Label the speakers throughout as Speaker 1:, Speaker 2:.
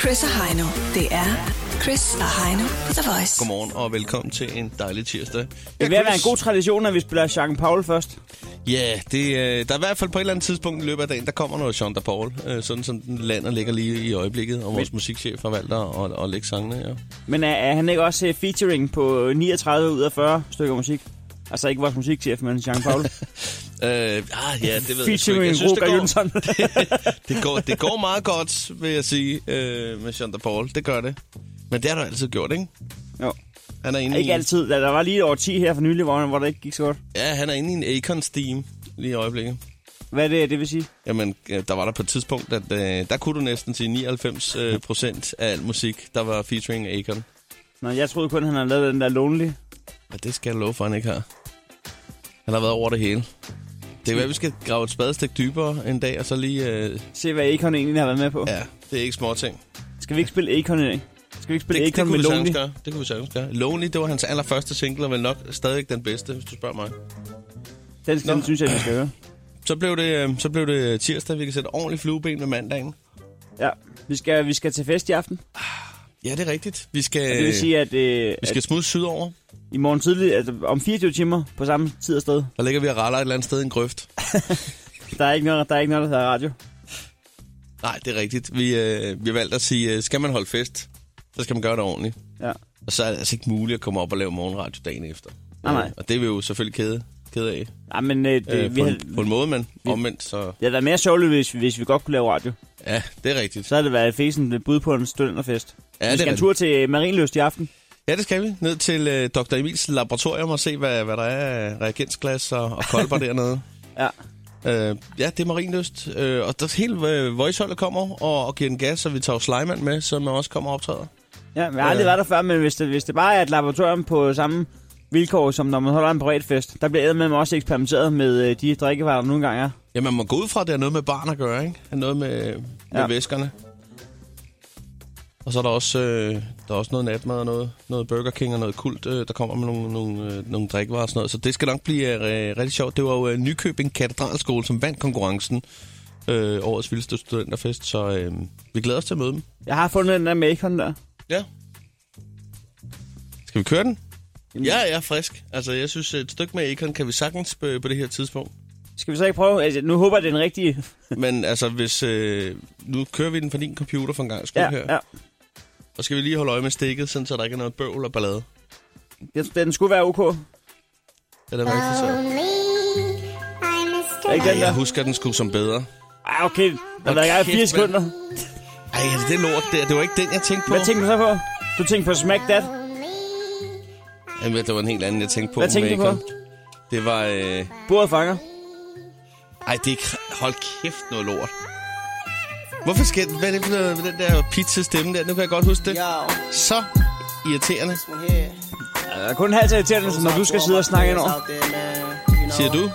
Speaker 1: Chris og Heino. Det er Chris og Heino på The Voice.
Speaker 2: Godmorgen og velkommen til en dejlig tirsdag.
Speaker 3: Det vil være en god tradition, at vi spiller Jean Paul først.
Speaker 2: Ja, det, øh, der er i hvert fald på et eller andet tidspunkt i løbet af dagen, der kommer noget Jean de Paul, øh, sådan som den lander ligger lige i øjeblikket, og vores musikchef har valgt at, at, at lægge sangene. Ja.
Speaker 3: Men er, er han ikke også øh, featuring på 39 ud af 40 stykker musik? Altså ikke vores musikchef, men Jean Paul.
Speaker 2: Øh, ah, ja, det ved jeg, sgu ikke. jeg
Speaker 3: featuring Roger
Speaker 2: det,
Speaker 3: Jønsson.
Speaker 2: går, det, går, det går meget godt, vil jeg sige, øh, med Jean de Paul. Det gør det. Men det har du altid gjort, ikke?
Speaker 3: jo.
Speaker 2: Han er inde i,
Speaker 3: Ikke altid. Der der var lige over 10 her for nylig, hvor, hvor det ikke gik så godt.
Speaker 2: Ja, han er inde i en Akon-steam lige i øjeblikket.
Speaker 3: Hvad er det, det vil sige?
Speaker 2: Jamen, øh, der var der på et tidspunkt, at øh, der kunne du næsten sige 99 øh, procent af al musik, der var featuring Akon.
Speaker 3: Nå, jeg troede kun, han havde lavet den der Lonely.
Speaker 2: Og det skal jeg love for, han ikke har. Han har været over det hele. Det er være, vi skal grave et spadestik dybere en dag, og så lige... Øh,
Speaker 3: Se, hvad Akon egentlig har været med på. Ja.
Speaker 2: ja, det er ikke små ting.
Speaker 3: Skal vi ikke spille Akon i dag? Skal vi ikke
Speaker 2: Det,
Speaker 3: spille
Speaker 2: det,
Speaker 3: Akon
Speaker 2: kunne
Speaker 3: med
Speaker 2: vi
Speaker 3: Lonely?
Speaker 2: sagtens gøre. det kunne vi sagtens gøre. Lonely, det var hans allerførste single, og vel nok stadig den bedste, hvis du spørger mig.
Speaker 3: Den, den synes jeg, vi skal høre.
Speaker 2: Så blev det, øh, så blev det tirsdag, vi kan sætte ordentligt flueben med mandagen.
Speaker 3: Ja, vi skal, vi skal til fest i aften.
Speaker 2: Ja, det er rigtigt. Vi skal,
Speaker 3: Det vil sige, at, øh,
Speaker 2: vi skal smude sydover.
Speaker 3: at i morgen tidlig, altså om 24 timer på samme tid og sted,
Speaker 2: Der ligger vi og raller et eller andet sted i en grøft.
Speaker 3: der er ikke noget, der, er ikke noget, der hedder radio.
Speaker 2: Nej, det er rigtigt. Vi, øh, vi har valgt at sige, øh, skal man holde fest, så skal man gøre det ordentligt.
Speaker 3: Ja.
Speaker 2: Og så er det altså ikke muligt at komme op og lave morgenradio dagen efter.
Speaker 3: Nej, nej.
Speaker 2: Øh, Og det er vi jo selvfølgelig kede, kede af.
Speaker 3: Nej, men øh, det,
Speaker 2: Øh,
Speaker 3: øh, vi
Speaker 2: på,
Speaker 3: havde,
Speaker 2: en, på en måde, men omvendt, så...
Speaker 3: det havde været mere sjovt, hvis, hvis vi godt kunne lave radio.
Speaker 2: Ja, det er rigtigt.
Speaker 3: Så havde det været fesen et bud på en studenterfest.
Speaker 2: Ja,
Speaker 3: vi
Speaker 2: det er
Speaker 3: skal en
Speaker 2: det.
Speaker 3: tur til øh, Marienløst i aften.
Speaker 2: Ja, det skal vi. Ned til øh, Dr. Emils laboratorium og se, hvad, hvad der er af reagensglas og, og kolber dernede.
Speaker 3: Ja.
Speaker 2: Øh, ja, det er Marienlyst. Øh, og der, hele øh, voiceholdet kommer og, og giver den gas, og vi tager jo Sleiman med, som også kommer og optræder.
Speaker 3: ja men jeg har aldrig
Speaker 2: Ja.
Speaker 3: været der før, men hvis det, hvis det bare er et laboratorium på samme vilkår, som når man holder en privatfest, der bliver med også eksperimenteret med øh, de drikkevarer, der nogle gange er.
Speaker 2: Ja, man må gå ud fra, at det har noget med barn at gøre, ikke? Det har Noget med, med ja.
Speaker 3: Ja.
Speaker 2: væskerne. Og så er der også, øh, der er også noget natmad og noget, noget Burger King og noget kult, øh, der kommer med nogle, nogle, øh, nogle drikkevarer og sådan noget. Så det skal nok blive øh, rigtig sjovt. Det var jo øh, Nykøbing Katedralskole, som vandt konkurrencen. Øh, årets vildeste studenterfest, så øh, vi glæder os til at møde dem.
Speaker 3: Jeg har fundet den der Macon der.
Speaker 2: Ja. Skal vi køre den? Ja, jeg er frisk. Altså, jeg synes, et stykke med Akon kan vi sagtens øh, på, på det her tidspunkt.
Speaker 3: Skal vi så ikke prøve? Altså, nu håber jeg, det er den rigtige.
Speaker 2: Men altså, hvis... Øh, nu kører vi den fra din computer for en gang skyld
Speaker 3: Ja,
Speaker 2: her.
Speaker 3: ja.
Speaker 2: Og skal vi lige holde øje med stikket, sådan, så der ikke er noget bøvl og ballade.
Speaker 3: Den, den skulle være ok.
Speaker 2: Det er da rigtig
Speaker 3: Øh,
Speaker 2: så.
Speaker 3: Ikke den
Speaker 2: Ej,
Speaker 3: der?
Speaker 2: jeg husker den sgu som bedre.
Speaker 3: Ah, okay. Der har været i gang i
Speaker 2: kæft,
Speaker 3: fire
Speaker 2: mand.
Speaker 3: sekunder.
Speaker 2: Ej, altså, det lort der, det var ikke den, jeg tænkte på.
Speaker 3: Hvad tænkte du så på? Du tænkte på Smack That.
Speaker 2: Jamen, det var en helt anden, jeg tænkte på.
Speaker 3: Hvad tænkte du
Speaker 2: med
Speaker 3: på?
Speaker 2: Akon. Det var... Øh...
Speaker 3: Bordet fanger.
Speaker 2: Ej, det er... kr- Hold kæft noget lort. Hvorfor skal... Hvad er det for noget, den der pizza-stemme der? Nu kan jeg godt huske det. Så irriterende,
Speaker 3: Der er kun halvt så irriterende, som når du skal sidde og snakke ind over.
Speaker 2: siger du.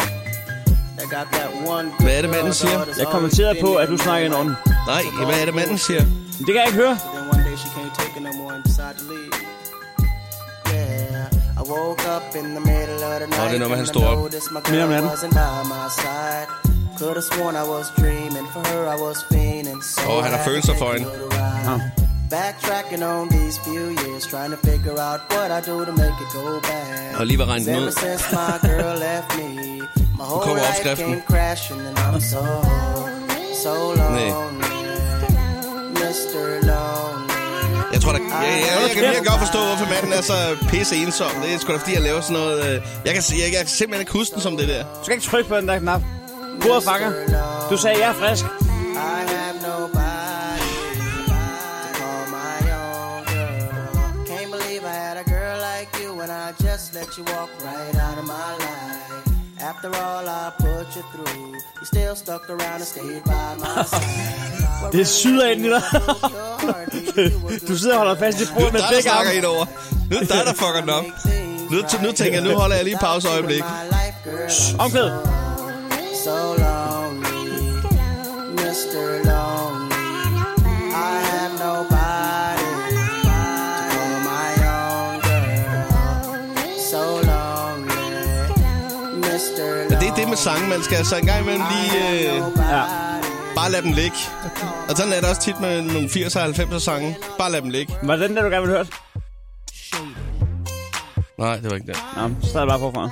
Speaker 2: Hvad er det, manden siger?
Speaker 3: Jeg kommenterede på, at du snakker ind over den.
Speaker 2: Nej, hvad er det, manden siger?
Speaker 3: Men Det kan jeg ikke høre.
Speaker 4: Then one day she can't take it no more and decided to leave. Yeah, I woke up in the middle of the night.
Speaker 2: det er noget med,
Speaker 4: and
Speaker 2: han
Speaker 4: I
Speaker 2: står op.
Speaker 4: noticed my
Speaker 3: Mere
Speaker 4: girl
Speaker 3: om natten.
Speaker 4: wasn't by my side. Could have sworn I was dreaming, for her I was fiending. So
Speaker 2: Åh,
Speaker 4: Oh, I
Speaker 2: han har
Speaker 4: had to
Speaker 2: følelser
Speaker 4: take
Speaker 2: for
Speaker 4: a
Speaker 2: hende.
Speaker 4: little ride.
Speaker 3: Nå.
Speaker 4: Backtracking on these few years, trying to figure out what I do to make it go back.
Speaker 2: Og lige ved at regne den
Speaker 4: Ever
Speaker 2: ud.
Speaker 4: since my girl left me, my whole
Speaker 2: kommer
Speaker 4: life
Speaker 2: opskriften.
Speaker 4: came crashing, and I'm so, so
Speaker 2: Nej.
Speaker 4: lonely. Mr. Lonely.
Speaker 2: Jeg tror da... Ja, ja, jeg kan virkelig godt forstå, hvorfor manden er så pisse ensom. Det er sgu da, fordi jeg laver sådan noget... Øh... Jeg, kan, jeg, jeg kan simpelthen ikke huske den som det der.
Speaker 3: Du skal ikke trykke på den der knap. Bordet fanger. Du sagde, jeg er frisk.
Speaker 4: I have nobody to call my own girl. Can't believe I had a girl like you and I just let you walk right out of my life. After all I put you through, you still stuck around and stayed by my side.
Speaker 3: Det syder ind i dig. Du sidder og holder fast i
Speaker 2: Nu
Speaker 3: bordet
Speaker 2: er
Speaker 3: med
Speaker 2: det dig, der
Speaker 3: begge
Speaker 2: snakker
Speaker 3: arme.
Speaker 2: ind over. Nu er det dig, der fucker den op. Nu, t- nu tænker jeg, nu holder jeg lige pause øjeblik.
Speaker 3: Omkvæd.
Speaker 4: So lonely, Mr. Lonely. I have nobody to call my own girl. So lonely, Mr.
Speaker 2: Men
Speaker 4: Lonely.
Speaker 2: det er det med sange, man skal altså en gang imellem lige... Øh...
Speaker 4: Nobody
Speaker 2: Bare lad dem ligge. Og sådan er det også tit med nogle 80'er og 90'er sange. Bare lad dem ligge.
Speaker 3: Var det den der, du gerne ville høre?
Speaker 2: Nej, det var ikke det.
Speaker 3: Nå, så starter jeg bare forfra.
Speaker 2: Nej,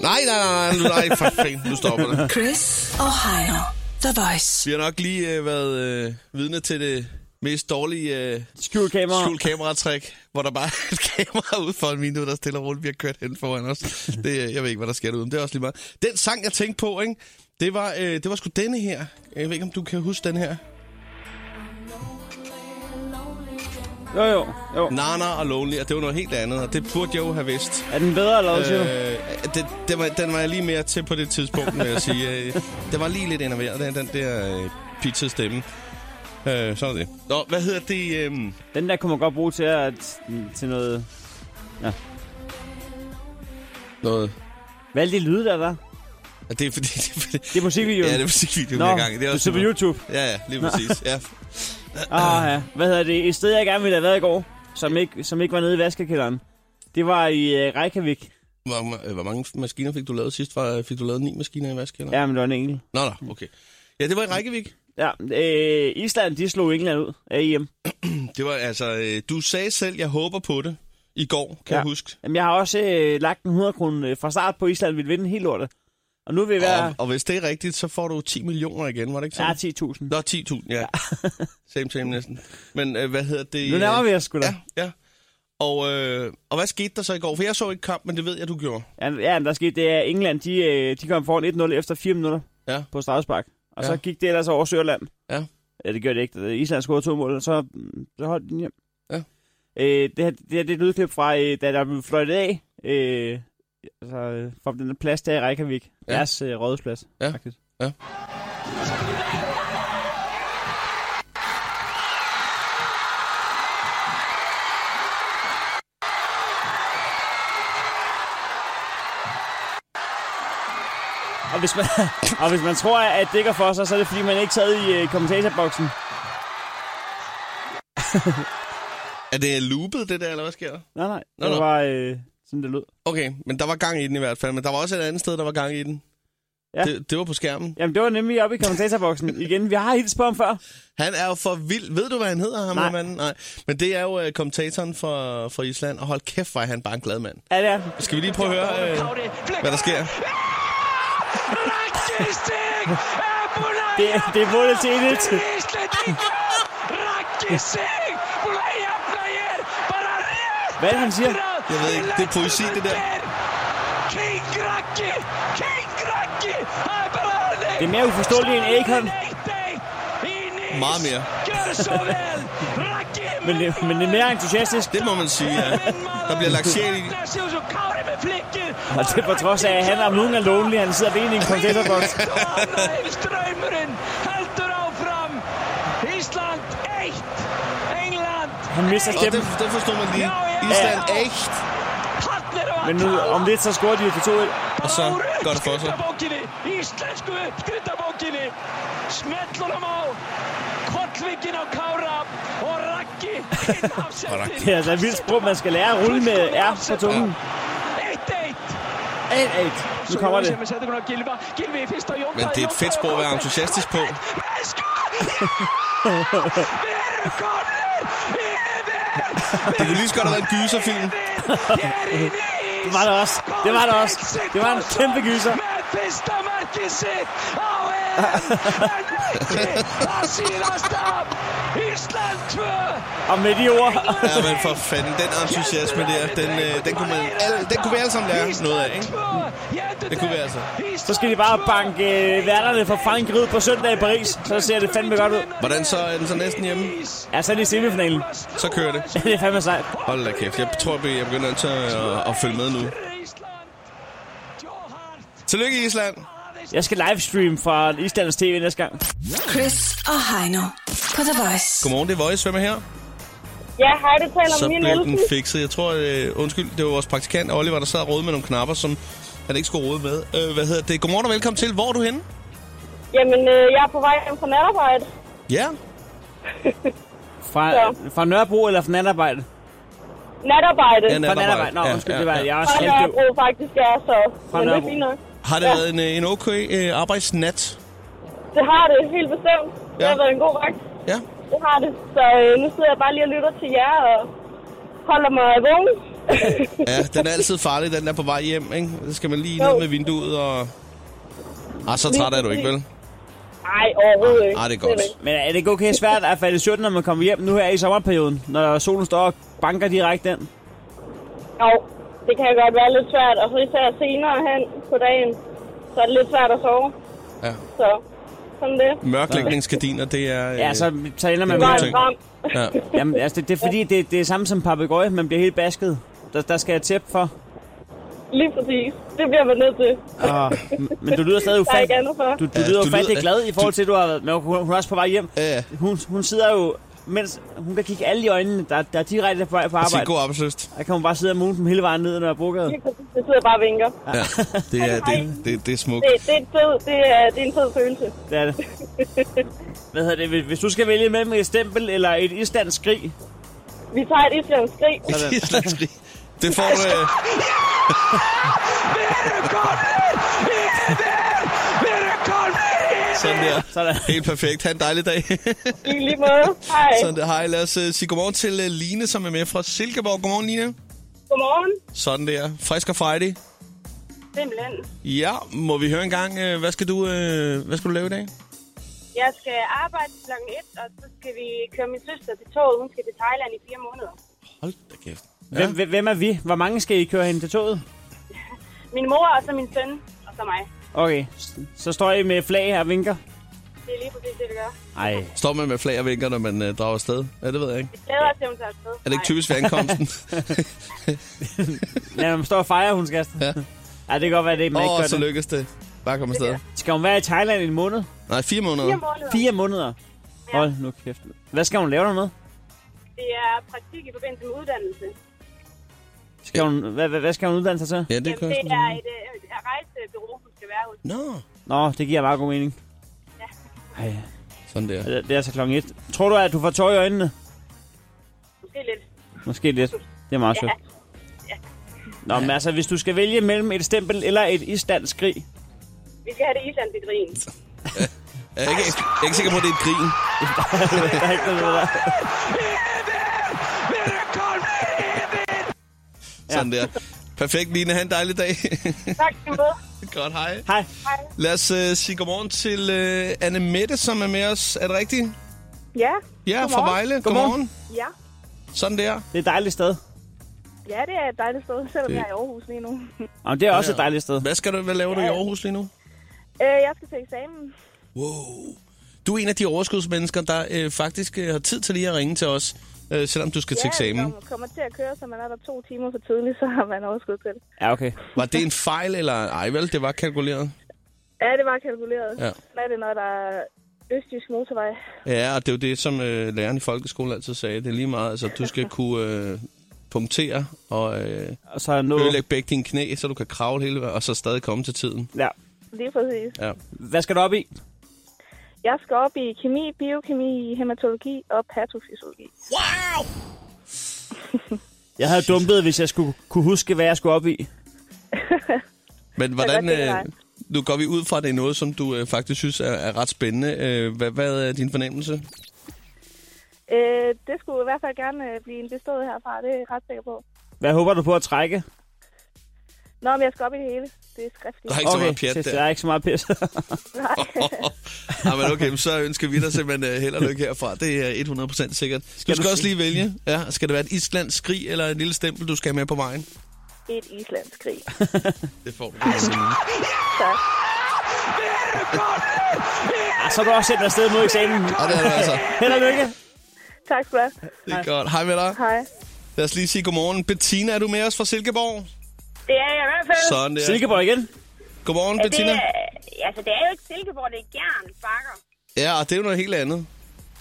Speaker 2: nej, nej, nej, nej, nej for fanden, nu stopper det.
Speaker 1: Chris og Heino. The Voice.
Speaker 2: Vi har nok lige øh, været øh, vidne til det mest dårlige øh,
Speaker 3: Skjult kamera.
Speaker 2: skjult kameratræk, hvor der bare er et kamera ud for en vindue, der stille og roligt bliver kørt hen foran os. Det, øh, jeg ved ikke, hvad der sker derude, men det er også lige meget. Den sang, jeg tænkte på, ikke? Det var, øh, det var sgu denne her. Jeg ved ikke, om du kan huske den her.
Speaker 3: Jo, jo, jo.
Speaker 2: Nana og Lonely, og det var noget helt andet, og det burde jeg jo have vidst.
Speaker 3: Er den bedre eller hvad, siger du?
Speaker 2: Øh, det, det var, den var jeg lige mere til på det tidspunkt, vil jeg sige. Øh, det var lige lidt enerverende, den, den der øh, pizza stemme. Øh, sådan er det. Nå, hvad hedder det? Øh,
Speaker 3: Den der kunne man godt bruge til, at, til noget...
Speaker 2: noget.
Speaker 3: Hvad er det lyde, der var?
Speaker 2: Ja, Det er fordi... Det er fordi
Speaker 3: Det er musikvideoen.
Speaker 2: ja, det er musikvideoen,
Speaker 3: Nå,
Speaker 2: jeg er i gang. i. Det er
Speaker 3: du ser på
Speaker 2: super-
Speaker 3: YouTube.
Speaker 2: Ja, ja, lige præcis. ja.
Speaker 3: Ah, ja. Hvad hedder det? Et sted, jeg gerne ville have været i går, som ikke, som ikke var nede i vaskekælderen. Det var i uh, Reykjavik.
Speaker 2: Hvor, øh, hvor mange maskiner fik du lavet sidst? Var, fik du lavet ni maskiner i vask? Eller?
Speaker 3: Ja, men det var en engel.
Speaker 2: Nå, nå, okay. Ja, det var i Reykjavik.
Speaker 3: Ja, øh, Island, de slog England ud af E EM.
Speaker 2: Det var altså... Øh, du sagde selv, jeg håber på det i går,
Speaker 3: Ja.
Speaker 2: kan ja. jeg huske.
Speaker 3: Jamen, jeg har også øh, lagt en 100 kroner øh, fra start på Island, ville vinde helt lortet. Og nu vil vi være...
Speaker 2: Og, og hvis det er rigtigt, så får du 10 millioner igen, var det ikke
Speaker 3: Ja,
Speaker 2: sådan?
Speaker 3: 10.000.
Speaker 2: Nå, 10.000, ja. same, same næsten. Men øh, hvad hedder det?
Speaker 3: Nu nærmer
Speaker 2: øh,
Speaker 3: vi os sgu da.
Speaker 2: Ja, ja. Og, øh, og hvad skete der så i går? For jeg så ikke kamp, men det ved jeg, du gjorde.
Speaker 3: Ja, ja men der skete det, at England de, øh, de kom foran 1-0 efter 4 minutter
Speaker 2: Ja.
Speaker 3: på straffespark. Og så
Speaker 2: Ja.
Speaker 3: gik det ellers over Sørland.
Speaker 2: Ja.
Speaker 3: Ja, det gjorde det ikke. Island scorede to mål, og så, mm, så holdt den hjem.
Speaker 2: Ja.
Speaker 3: Øh, det, her, det her det er et lydklip fra, øh, da der blev fløjtet af. Øh, altså, øh, fra den der plads der i Reykjavik. Ja.
Speaker 2: Ja.
Speaker 3: Deres øh, rådhusplads,
Speaker 2: Ja.
Speaker 3: faktisk.
Speaker 2: Ja.
Speaker 3: Og hvis, man, og hvis man tror, at det går for sig, så er det fordi, man ikke sad i øh, kommentatorboksen.
Speaker 2: Er det loopet, det der, eller hvad sker der?
Speaker 3: Nej, nej.
Speaker 2: Nå,
Speaker 3: Det
Speaker 2: nå.
Speaker 3: var øh, sådan, det lød.
Speaker 2: Okay, men der var gang i den i hvert fald. Men der var også et andet sted, der var gang i den.
Speaker 3: Ja.
Speaker 2: Det, det var på skærmen.
Speaker 3: Jamen, det var nemlig oppe i kommentatorboksen igen. Vi har helt på ham før.
Speaker 2: Han er jo for vild. Ved du, hvad han hedder, ham
Speaker 3: Nej.
Speaker 2: her manden? Nej. Men det er jo øh, kommentatoren fra, fra Island, og hold kæft, hvor er han bare en glad mand.
Speaker 3: Ja, det er.
Speaker 2: Skal vi lige prøve at høre, øh, hvad der sker?
Speaker 3: Det, det er målet til 1 Hvad er det, han siger?
Speaker 2: Jeg ved ikke, det er poesi, det der.
Speaker 5: King Raki! King Raki! Det
Speaker 3: er mere uforståeligt end Akon.
Speaker 2: Meget mere.
Speaker 5: Gør så vel! Raki!
Speaker 3: Men det, men det er mere entusiastisk.
Speaker 2: Det må man sige, ja. Der bliver lagt sjæl i.
Speaker 5: Der ser ud som Kauri med flikken.
Speaker 3: Og det er på trods af, at han om nogen er lonely. Han sidder alene i en kommentatorboksen.
Speaker 5: Strømmeren halter affram. Island 1. England
Speaker 3: Han mister
Speaker 2: Og det,
Speaker 3: stemmen.
Speaker 2: det forstod man lige. Island, echt.
Speaker 5: Hallir og
Speaker 3: Men nu, om lidt, så scorer de jo til 2-1.
Speaker 2: Og så går det for sig.
Speaker 5: Skrytabókinni, íslensku uppskrytabókinni Smellur á á Kollvikin á Kára Og Raggi inn af
Speaker 2: Raggi.
Speaker 5: sættin
Speaker 3: Det er altså et vildt sprog, man skal lære at rulle med R på tungen.
Speaker 5: 1-1
Speaker 3: 1-1. Nu kommer det.
Speaker 5: Sætter man Gilva Gilvi i fyrsta Jón
Speaker 2: Men det er et fedt sprog at være entusiastisk på. Det kunne lige så godt have været en gyserfilm.
Speaker 3: Det var det også. Det var det også. Det var en kæmpe gyser.
Speaker 5: Med fyrsta markið sitt á EM En Raggi að síðast af Ísland 2
Speaker 3: Og med de ord...
Speaker 2: Ja, men for fanden, den entusiasme der, den, øh, den, kunne man, alle, den kunne vi alle sammen lære noget af, ikke? Det kunne vi altså.
Speaker 3: Så skal de bare banke øh, værterne for Frank ud på søndag i Paris. Så ser det fandme godt ud.
Speaker 2: Hvordan så er den så næsten hjemme?
Speaker 3: Ja, så er det i semifinalen.
Speaker 2: Så kører det.
Speaker 3: det er fandme sejt.
Speaker 2: Hold da kæft, jeg tror, jeg begynder at, at, at følge med nu. Tillykke, Island.
Speaker 3: Jeg skal livestream fra Islands TV næste gang.
Speaker 1: Chris og Heino på The Voice.
Speaker 2: Godmorgen, det er Voice. Hvem er her?
Speaker 6: Ja, hej, det taler
Speaker 2: Så
Speaker 6: min
Speaker 2: blev den
Speaker 6: Olsen.
Speaker 2: fikset. Jeg tror, øh, undskyld, det var vores praktikant Oliver, der sad og rode med nogle knapper, som han ikke skulle rode med. Øh, hvad hedder det? Godmorgen og velkommen til. Hvor er du henne?
Speaker 6: Jamen, øh, jeg er på vej hjem fra natarbejde.
Speaker 2: Ja.
Speaker 3: Fra,
Speaker 6: Ja.
Speaker 3: fra Nørrebro eller fra natarbejde?
Speaker 6: Natarbejde.
Speaker 2: Ja,
Speaker 3: Fra
Speaker 2: Natarbejde.
Speaker 3: natarbejde. Nå,
Speaker 2: Ja,
Speaker 3: undskyld,
Speaker 2: ja,
Speaker 3: det var
Speaker 2: ja.
Speaker 3: jeg er også
Speaker 6: Fra
Speaker 3: halvdøv.
Speaker 6: Nørrebro faktisk er, så...
Speaker 3: Fra
Speaker 6: Men det
Speaker 3: Nørrebro.
Speaker 6: er fint nok.
Speaker 2: Har det
Speaker 6: Ja.
Speaker 2: været en, øh, en okay øh, arbejdsnat?
Speaker 6: Det Det har det, helt bestemt. Det
Speaker 2: Ja.
Speaker 6: har været en god vagt.
Speaker 2: Ja,
Speaker 6: Det har det. Så øh, nu sidder jeg bare lige og lytter til jer og holder mig vågen.
Speaker 2: ja den er altid farlig, den er på vej hjem, ikke? Så skal man lige ned
Speaker 6: Jo.
Speaker 2: med vinduet og... Ah, så træt er du ikke, vel?
Speaker 6: Nej, overhovedet ikke.
Speaker 2: Ah, det er godt.
Speaker 6: Slet ikke.
Speaker 3: Men er det ikke okay svært at falde i 17, når man kommer hjem nu her i sommerperioden? Når solen står og banker direkte ind?
Speaker 6: Jo, det kan godt være lidt svært. Og så især senere hen på dagen, så er det lidt svært at sove.
Speaker 2: Ja.
Speaker 6: Så sådan det.
Speaker 2: Mørklægningsgardiner, det er... øh,
Speaker 3: Ja, så, så ender man
Speaker 2: det er
Speaker 3: med...
Speaker 2: en
Speaker 6: Varmt,
Speaker 2: ting.
Speaker 6: varmt.
Speaker 2: Ja.
Speaker 3: Jamen, altså, det, det er fordi, det, det er samme som papegøje, man bliver helt basket. Der, der skal jeg tæppe for.
Speaker 6: Lige præcis. Det bliver man nødt til.
Speaker 3: Og, m- men du lyder stadig
Speaker 6: Der er ikke
Speaker 3: ufattelig.
Speaker 6: andet for.
Speaker 3: Du, du
Speaker 2: Ah. Ja,
Speaker 3: lyder
Speaker 2: du
Speaker 3: ufattelig
Speaker 2: lyder-
Speaker 3: glad i forhold
Speaker 2: du-
Speaker 3: til, at du har været... Men hun, hun er også på vej hjem.
Speaker 2: Ja,
Speaker 3: Hun, hun sidder jo... Mens hun kan kigge alle i øjnene, der, der er direkte på vej på
Speaker 2: Sig
Speaker 3: arbejde.
Speaker 2: god arbejdsløst.
Speaker 3: Der kan hun bare sidde og mune dem hele vejen ned ad Nørrebrogade.
Speaker 6: Lige præcis. Jeg sidder bare og vinker.
Speaker 2: Ja. Det er, det, det, det er smukt.
Speaker 6: Det, det, er en fed, det, er, det er en fed følelse.
Speaker 3: Det er det. Hvad hedder det? Hvis- Hvis du skal vælge mellem et stempel eller et islandsk skrig,
Speaker 6: Vi tager et islandsk skrig.
Speaker 3: Sådan.
Speaker 2: Islandskrig. Det får du... Øh, sådan der.
Speaker 3: så er der...
Speaker 2: Helt perfekt. Ha' en dejlig dag.
Speaker 6: I lige måde. Hej.
Speaker 2: sådan der. Hej, lad os øh, sige godmorgen til øh, Line, som er med fra Silkeborg. Godmorgen, Line.
Speaker 6: Godmorgen.
Speaker 2: Sådan der. Frisk og Friday.
Speaker 6: Simpelthen.
Speaker 2: Ja, må vi høre en gang, øh, hvad skal du, øh, hvad skal du lave i dag?
Speaker 6: Jeg skal arbejde kl. 1, og så skal vi køre min søster til toget. Hun skal til Thailand i fire måneder.
Speaker 2: Hold da kæft. Ja.
Speaker 3: Hvem, hvem- hvem er vi? Hvor mange skal I køre hen til toget?
Speaker 6: Min mor og så min søn, og så mig.
Speaker 3: Okay, s- så står I med flag her og vinker.
Speaker 6: Det er lige præcis det, vi gør.
Speaker 3: Ej,
Speaker 2: Står man med flag og vinker, når man øh, drager afsted? Ja, det ved jeg ikke.
Speaker 6: Vi glæder os til, at hun tager afsted.
Speaker 2: Er det ikke typisk ved ankomsten?
Speaker 3: lad dem stå og fejre, hun skal.
Speaker 2: Ja.
Speaker 3: Ej, det kan godt være, det er, man
Speaker 2: Åh,
Speaker 3: ikke
Speaker 2: oh,
Speaker 3: gør
Speaker 2: så
Speaker 3: det.
Speaker 2: lykkes det. Bare kom afsted.
Speaker 3: Skal hun være i Thailand i en måned?
Speaker 2: Nej, fire måneder.
Speaker 6: Fire måneder.
Speaker 3: Fire måneder?
Speaker 6: Ja.
Speaker 3: Hold nu kæft. Hvad skal hun lave der med?
Speaker 6: Det er praktik i forbindelse med uddannelse.
Speaker 3: Skal hun, hvad, hvad, hvad skal hun uddanne sig til?
Speaker 2: Ja, det
Speaker 6: Jamen,
Speaker 2: kører
Speaker 6: det
Speaker 2: sådan.
Speaker 6: er et, øh, et rejsebureau, hun skal være hos.
Speaker 2: Nå,
Speaker 3: Nå, det giver meget god mening. Ej,
Speaker 2: sådan der.
Speaker 3: det det er altså klokken et. Tror du, at du får tår i øjnene?
Speaker 6: Måske lidt.
Speaker 3: Måske lidt. Det er meget sødt. Nå, men altså, hvis du skal vælge mellem et stempel eller et islandsk skrig,
Speaker 6: Vi skal have det islandske grin.
Speaker 2: Jeg er ikke, jeg er ikke sikker på, at det er et grin.
Speaker 3: der er ikke noget ved det.
Speaker 2: Sådan der. Perfekt, Line. Ha' en dejlig dag.
Speaker 6: Tak skal du have.
Speaker 2: Godt, hej.
Speaker 3: Hej.
Speaker 2: Lad os uh, sige godmorgen til uh, Anne Mette, som er med os. Er det rigtigt?
Speaker 7: Ja,
Speaker 2: Ja, fra Vejle.
Speaker 3: Godmorgen.
Speaker 2: Godmorgen.
Speaker 7: ja.
Speaker 2: Sådan der.
Speaker 3: Det er et dejligt sted.
Speaker 7: Ja, det er et dejligt sted, selvom
Speaker 2: Det-
Speaker 7: det... jeg er i Aarhus lige nu.
Speaker 3: Jamen, det er også
Speaker 2: Ja.
Speaker 3: et dejligt sted.
Speaker 2: Hvad, skal du, hvad laver du i Aarhus lige nu?
Speaker 7: Øh, jeg skal til eksamen.
Speaker 2: Wow. Du er en af de overskudsmennesker, der øh, faktisk øh, har tid til lige at ringe til os, øh, selvom du skal til
Speaker 7: ja,
Speaker 2: eksamen.
Speaker 7: Når man kommer til at køre, så man er der to timer for tidligt, så har man overskud til det.
Speaker 3: Ja, okay.
Speaker 2: Var det en fejl, eller ej vel? Det var kalkuleret.
Speaker 7: Ja, det var kalkuleret.
Speaker 2: Ja.
Speaker 7: Sådan er det, når der er østjysk motorvej.
Speaker 2: Ja, og det er jo det, som øh, læreren i folkeskolen altid sagde. Det er lige meget, altså du skal kunne øh, punktere og øh,
Speaker 3: Og så nu...
Speaker 2: ødelægge begge dine knæ, så du kan kravle hele vejen, og så stadig komme til tiden.
Speaker 3: Ja.
Speaker 7: Lige præcis.
Speaker 2: Ja.
Speaker 3: Hvad skal du op i?
Speaker 7: Jeg skal op i kemi, biokemi, hematologi og patofysiologi.
Speaker 3: Jeg havde dumpet, hvis jeg skulle kunne huske, hvad jeg skulle op i.
Speaker 2: Men hvordan...
Speaker 7: godt tænke
Speaker 2: Øh, nu går vi ud fra, at det er noget, som du øh, faktisk synes er, er ret spændende. Øh, hvad, hvad er din fornemmelse?
Speaker 7: Øh, det skulle i hvert fald gerne øh, blive en bestået herfra, det er jeg ret sikker på.
Speaker 3: Hvad håber du på at trække?
Speaker 7: Nå, men jeg skal op i det hele. Det er skriftligt.
Speaker 2: Der er ikke så meget pjat
Speaker 3: det, der
Speaker 2: der.
Speaker 3: er ikke så meget pis.
Speaker 2: Ja, men okay, så ønsker vi dig simpelthen øh, held og lykke herfra. Det er 100% sikkert. Skal du skal
Speaker 3: du
Speaker 2: også
Speaker 3: sige-
Speaker 2: lige vælge. Ja, skal det være et islandsk skrig eller en lille stempel, du skal have med på vejen?
Speaker 7: Et islandsk krig.
Speaker 2: Det får du.
Speaker 7: Tak.
Speaker 3: ah, så er du også sendt afsted mod eksamen.
Speaker 2: Og det er du altså.
Speaker 3: Held og lykke.
Speaker 7: Tak skal du have.
Speaker 2: Det er godt. Hej med dig.
Speaker 7: Hej.
Speaker 2: Lad os lige sige godmorgen. Bettina, er du med os fra Silkeborg?
Speaker 6: Det er jeg i hvert fald.
Speaker 2: Sådan der.
Speaker 3: Silkeborg igen.
Speaker 2: Godmorgen,
Speaker 6: det
Speaker 2: Bettina.
Speaker 6: er, altså, det er jo ikke Silkeborg, det er Gjern Bakker.
Speaker 2: Ja, og det er jo noget helt andet.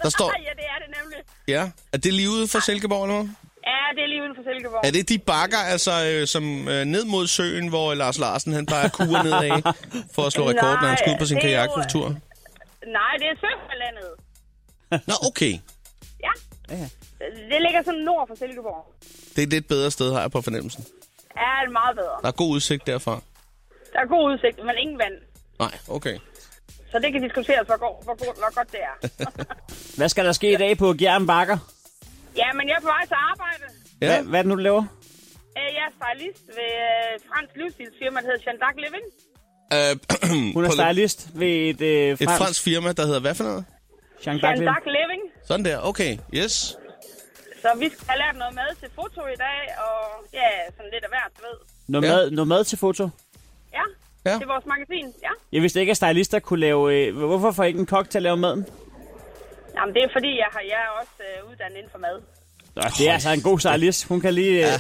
Speaker 2: Der står,
Speaker 6: ja, det er det nemlig.
Speaker 2: ja, er det lige ude for Silkeborg eller hvad?
Speaker 6: Ja, det er lige uden for Silkeborg.
Speaker 2: Er det de bakker, altså, øh, som øh, ned mod søen, hvor Lars Larsen han plejer at kure nedad for at slå rekord, når han skal ud på sin
Speaker 6: Nej, det er jo-
Speaker 2: kajaktur?
Speaker 6: Nej, det er Sønderlandet.
Speaker 2: Nå, okay.
Speaker 6: Ja.
Speaker 3: Ja.
Speaker 6: Det ligger sådan nord for Silkeborg.
Speaker 2: Det er et lidt bedre sted, har jeg på fornemmelsen.
Speaker 6: Ja, det er meget bedre.
Speaker 2: Der er god udsigt derfra.
Speaker 6: Der er god udsigt, men ingen vand.
Speaker 2: Nej, okay.
Speaker 6: Så det kan diskuteres, hvor, god, hvor, god, hvor godt det er.
Speaker 3: Hvad skal der ske i dag på Gjern Bakker?
Speaker 6: ja, men jeg er på vej til arbejde.
Speaker 3: Hvad, hvad er det nu, du laver?
Speaker 6: Øh, Jeg er stylist ved øh, fransk livsstilsfirma, der hedder Chandac Living.
Speaker 2: Øh,
Speaker 3: Hun er
Speaker 2: prøv lige-
Speaker 3: stylist ved et, øh,
Speaker 2: Et
Speaker 3: fransk...
Speaker 2: fransk firma, der hedder hvad for noget?
Speaker 3: Jean
Speaker 6: Chandac Living.
Speaker 2: Sådan der, okay, yes.
Speaker 6: Så vi skal have lært noget mad til foto i dag, og ja, sådan lidt af hvert, du ved.
Speaker 3: Noget,
Speaker 2: Ja.
Speaker 3: mad, noget mad til foto.
Speaker 6: Ja,
Speaker 2: Ja.
Speaker 6: ja. det er vores magasin, ja.
Speaker 3: Jeg vidste ikke, at stylister kunne lave... Øh, hvorfor får ikke en kok til at lave maden?
Speaker 6: Jamen, det er fordi, jeg, har, jeg er også øh, uddannet inden for mad.
Speaker 3: Nå, det er altså en god stylist. Hun kan lige... Ja.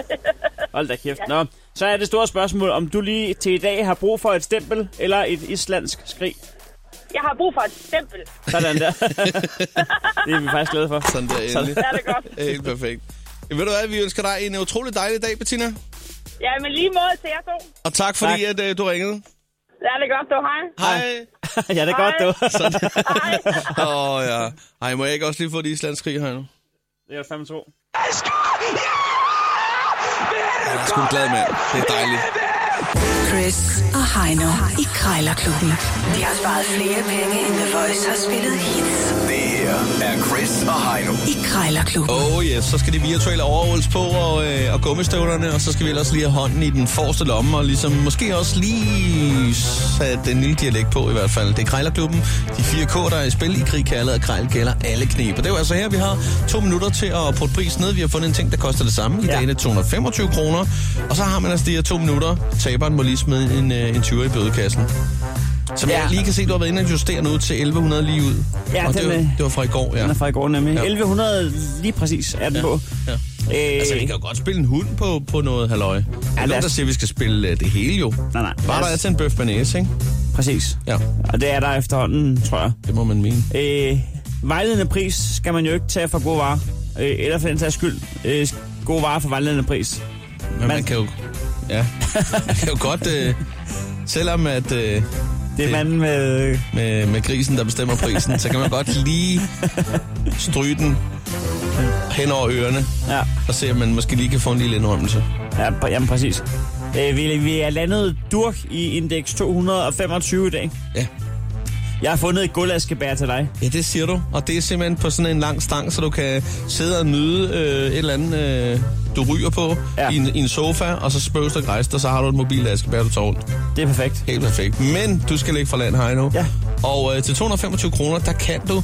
Speaker 3: Hold da kæft. Nå, så er det store spørgsmål, om du lige til i dag har brug for et stempel eller et islandsk skrig.
Speaker 6: Jeg har brug for et stempel.
Speaker 3: Sådan der. det er vi faktisk glade for.
Speaker 2: Sådan der endelig.
Speaker 6: Det er det godt.
Speaker 2: Helt perfekt. Ved du hvad, vi ønsker dig en utrolig dejlig dag, Bettina.
Speaker 6: Ja, men lige måde til jer to.
Speaker 2: Og tak fordi, tak. at øh, du ringede.
Speaker 6: Det er det godt, du hej.
Speaker 2: Hej.
Speaker 3: ja, det er godt, du.
Speaker 6: Hej.
Speaker 2: Åh oh, ja. Ej, må jeg ikke også lige få det islandskrig her nu?
Speaker 3: Det er 5 2.
Speaker 2: Jeg er sgu en glad mand. Det er dejligt.
Speaker 1: Chris og Heino i Krejlerklubben. De har sparet flere penge, end The Voice har spillet hits
Speaker 8: Det her er Chris og Heino.
Speaker 1: i Krejlerklubben.
Speaker 2: Oh yes, så skal de virtuelle overholds på og, øh, og gummistøvlerne, og så skal vi ellers lige have hånden i den forreste lomme, og ligesom måske også lige sætte den lille dialekt på i hvert fald. Det er Krejlerklubben, de fire K, der er i spil i krig, kaldet og krejl gælder alle knep. Og det er jo altså her, vi har to minutter til at putte pris ned. Vi har fundet en ting, der koster det samme. I
Speaker 3: Ja.
Speaker 2: dag er det 225 kroner, og så har man altså de her to minutter. Taberen må lige smide en, øh, en 20 i bødekassen. Som ja.
Speaker 3: Ja.
Speaker 2: jeg lige kan se, du har været inde og justere nu til 1100 lige ud.
Speaker 3: Ja,
Speaker 2: og det,
Speaker 3: den,
Speaker 2: var,
Speaker 3: øh,
Speaker 2: det var fra i går, ja.
Speaker 3: Den er fra i går nemlig.
Speaker 2: Ja.
Speaker 3: 1100 lige præcis er den på.
Speaker 2: ja.
Speaker 3: Øh,
Speaker 2: Altså, vi kan jo godt spille en hund på, på noget halløj. Ja, der er
Speaker 3: lad
Speaker 2: nogen,
Speaker 3: os-
Speaker 2: der siger, at vi skal spille øh, det hele jo.
Speaker 3: Nej, nej.
Speaker 2: Bare
Speaker 3: Lad
Speaker 2: der
Speaker 3: os-
Speaker 2: er til en bøf banæs, ikke?
Speaker 3: præcis.
Speaker 2: Ja,
Speaker 3: Og det er der efterhånden, tror jeg.
Speaker 2: det må man mene.
Speaker 3: Øh, vejledende pris skal man jo ikke tage for gode varer. Øh, eller for den sags skyld, øh, gode varer for vejledende pris.
Speaker 2: Men man, man kan jo... Ja, man kan jo godt... Øh, selvom at øh,
Speaker 3: Det er
Speaker 2: Det-
Speaker 3: manden med... Øh,
Speaker 2: med, med grisen, der bestemmer prisen, så kan man godt lige stryge den hen over ørerne,
Speaker 3: ja,
Speaker 2: og se, om man måske lige kan få en lille indrømmelse.
Speaker 3: ja, pr- jamen præcis. Øh, vi, vi er landet durk i indeks 225 i dag.
Speaker 2: Ja.
Speaker 3: Jeg har fundet et guldaskebær til dig.
Speaker 2: Ja, det siger du. Og det er simpelthen på sådan en lang stang, så du kan sidde og nyde øh, et eller andet, øh, du ryger på ja.
Speaker 3: Ja.
Speaker 2: i, en, i en sofa, og så spøges der græst, og så har du et mobil askebær, du tager rundt.
Speaker 3: Det er perfekt.
Speaker 2: Helt perfekt. Men du skal ligge fra land, Heino.
Speaker 3: Ja.
Speaker 2: Og øh, til 225 kroner, der kan du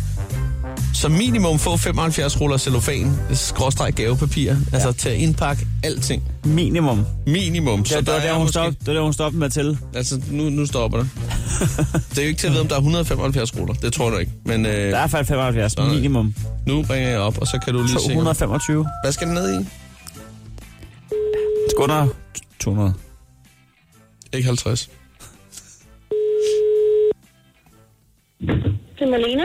Speaker 2: som minimum få 75 ruller cellofan, skråstreg gavepapir, ja. altså til at indpakke alting.
Speaker 3: Minimum.
Speaker 2: Minimum.
Speaker 3: Ja, det var der, hun
Speaker 2: måske-
Speaker 3: stoppede, det var der, hun stoppede med at tælle.
Speaker 2: Altså, nu, nu stopper det. det er jo ikke til at vide, om der er 175 ruller. Det tror jeg nu ikke. Men øh,
Speaker 3: Der er faktisk 75. Minimum.
Speaker 2: nu bringer jeg op, og så kan du lige se.
Speaker 3: 225.
Speaker 2: Hvad skal den ned i?
Speaker 3: Skunder. 200.
Speaker 2: Ikke 50.
Speaker 6: Det er Malene.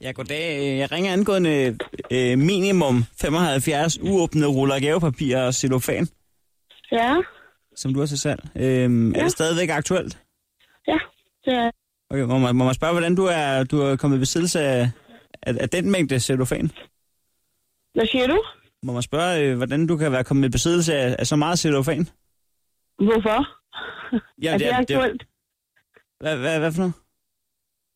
Speaker 3: Ja, goddag. Jeg ringer angående øh, minimum 75 uåbnede ruller af gavepapir og cellofan,
Speaker 6: Ja,
Speaker 3: som du har til salg. Øhm, ja. Er
Speaker 6: Ja.
Speaker 3: det stadigvæk aktuelt?
Speaker 6: ja. Det er,
Speaker 3: Okay, må man, må man spørge, hvordan du er, du er kommet i besiddelse af, af, af den mængde cellofan?
Speaker 6: hvad siger du?
Speaker 3: Må man spørge, øh, hvordan du kan være kommet i besiddelse af, af så meget cellofan?
Speaker 6: Hvorfor?
Speaker 3: Ja,
Speaker 6: Er det, aktuelt?
Speaker 3: Hvad, hvad, hvad for noget?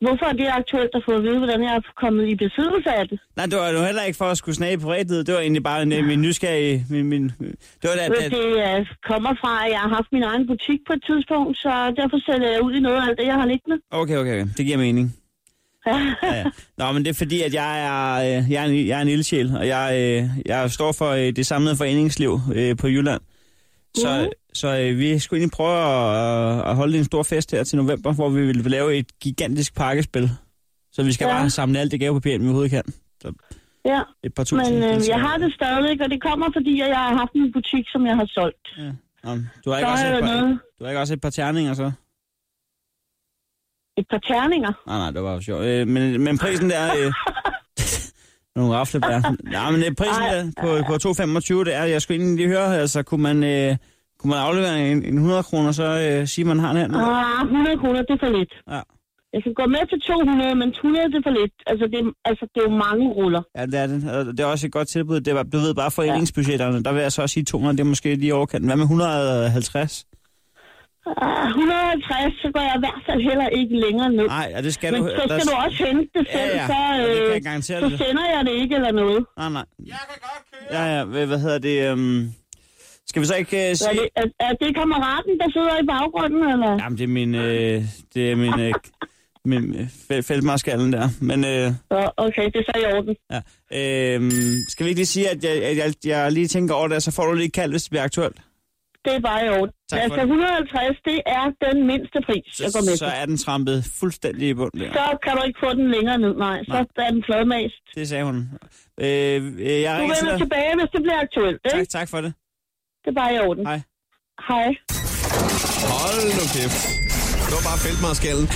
Speaker 6: Hvorfor er det aktuelt at få at vide, hvordan jeg er kommet i besiddelse af det?
Speaker 3: Nej, det var jo heller ikke for at skulle snage på rigtigt. Det var egentlig bare en, øh, min nysgerrige... Min, min, det var da,
Speaker 6: Men
Speaker 3: da,
Speaker 6: det øh, kommer fra, at jeg har haft min egen butik på et tidspunkt, så derfor sælger jeg ud i noget af alt det, jeg har liggende.
Speaker 3: okay, okay, okay. Det giver mening. ja, ja. Nå, men det er fordi, at jeg er, øh, jeg er, en, jeg er en ildsjæl, og jeg, øh, jeg står for øh, det samlede foreningsliv øh, på Jylland. Så,
Speaker 6: Mhm.
Speaker 3: så øh, vi skulle egentlig prøve at, at holde en stor fest her til november, hvor vi vil lave et gigantisk pakkespil. Så vi skal ja.
Speaker 6: Ja.
Speaker 3: bare samle alt det gavepapir, vi overhovedet kan. Så
Speaker 6: Ja,
Speaker 3: et par tusind.
Speaker 6: men øh,
Speaker 3: deltagere.
Speaker 6: jeg har det stadigvæk, og det kommer, fordi at jeg har haft en butik, som jeg har solgt.
Speaker 3: Nå, men du, har
Speaker 6: Så
Speaker 3: ikke også
Speaker 6: er
Speaker 3: et
Speaker 6: der
Speaker 3: par,
Speaker 6: noget.
Speaker 3: du har ikke også et par terninger, så?
Speaker 6: Et par terninger.
Speaker 3: Nej, nej, det var jo sjovt. Øh, men, men prisen der... Øh, nogle raflebær. Nej, men øh, prisen
Speaker 6: Ej.
Speaker 3: der på, på 2,25, det er, jeg skulle egentlig lige høre, altså, kunne man, øh, kunne man aflevere en, en 100 kroner, så øh, sige, man har en handel?
Speaker 6: Ah, 100 kroner, det er for lidt.
Speaker 3: Ja.
Speaker 6: Jeg kan gå med til 200, men 100 det er for lidt. Altså det, er- altså, det er jo mange ruller.
Speaker 3: Ja, det er det. Og Det er også et godt tilbud. Det var, du ved bare, foreningsbudgetterne, der vil jeg så også sige 200, det er måske lige i overkanten. Hvad med 150?
Speaker 6: Ah, 150, så går jeg i hvert fald heller ikke længere ned.
Speaker 3: Nej, og det skal
Speaker 6: Men
Speaker 3: du...
Speaker 6: så skal
Speaker 3: der-
Speaker 6: du også hente det
Speaker 3: Ja,
Speaker 6: selv,
Speaker 3: ja,
Speaker 6: så,
Speaker 3: ja, det kan
Speaker 6: øh,
Speaker 3: jeg garantere
Speaker 6: så
Speaker 3: dig.
Speaker 6: sender jeg det ikke eller noget.
Speaker 3: Nej, nej. Jeg kan godt køre. Ja, ja, hvad hvad hedder det? Øhm... Skal vi så ikke øh,
Speaker 6: Så Er
Speaker 3: sige...
Speaker 6: det, er, er det kammeraten, der sidder i baggrunden, eller?
Speaker 3: Jamen, det er min... Øh... Det er min... Øh... min øh, fel- feltmarskallen der. Men øh,
Speaker 6: Så, okay, det er så i orden.
Speaker 3: ja. øhm, skal vi ikke lige sige, at jeg, at jeg, jeg lige tænker over det, så får du lige et kald, hvis det bliver aktuelt?
Speaker 6: Det er bare i orden.
Speaker 3: Tak for
Speaker 6: altså,
Speaker 3: det.
Speaker 6: 150, det er den mindste pris, jeg går med
Speaker 3: Så
Speaker 6: til.
Speaker 3: er den trampet fuldstændig i bunden. Der.
Speaker 6: Så kan du ikke få den længere ned, nej. Så er den flodmast.
Speaker 3: Det sagde hun. Øh, øh, jeg
Speaker 6: Du
Speaker 3: ringer til
Speaker 6: vender
Speaker 3: dig.
Speaker 6: tilbage, hvis det bliver aktuelt, ikke?
Speaker 3: Tak, tak for det.
Speaker 6: Det er bare i orden.
Speaker 3: Hej.
Speaker 6: Hej.
Speaker 2: Hold nu kæft. Det var bare feltmarskallen.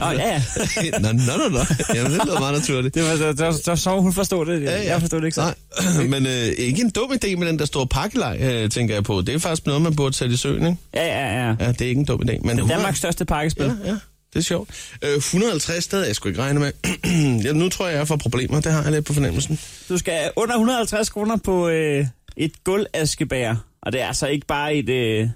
Speaker 3: Nå, ja, ja.
Speaker 2: nå, nå, nå, nå. Jamen, det lyder meget naturligt.
Speaker 3: Det var, der, der, der, så hun forstod det. Jeg forstod det ikke så.
Speaker 2: Nej, men øh, ikke en dum idé med den der store pakkelej, øh, tænker jeg på. Det er faktisk noget, man burde sætte i søen, ikke?
Speaker 3: Ja, ja, ja.
Speaker 2: Ja, det er ikke en dum idé. Men
Speaker 3: Danmarks største pakkespil.
Speaker 2: Ja, ja. Det er sjovt. Øh, 150, det havde jeg sgu ikke regnet med. ja, nu tror jeg, jeg får problemer. Det har jeg lidt på fornemmelsen.
Speaker 3: Du skal under 150 kroner på øh, et gulvaskebær. Og det er altså ikke bare et... Øh, altså,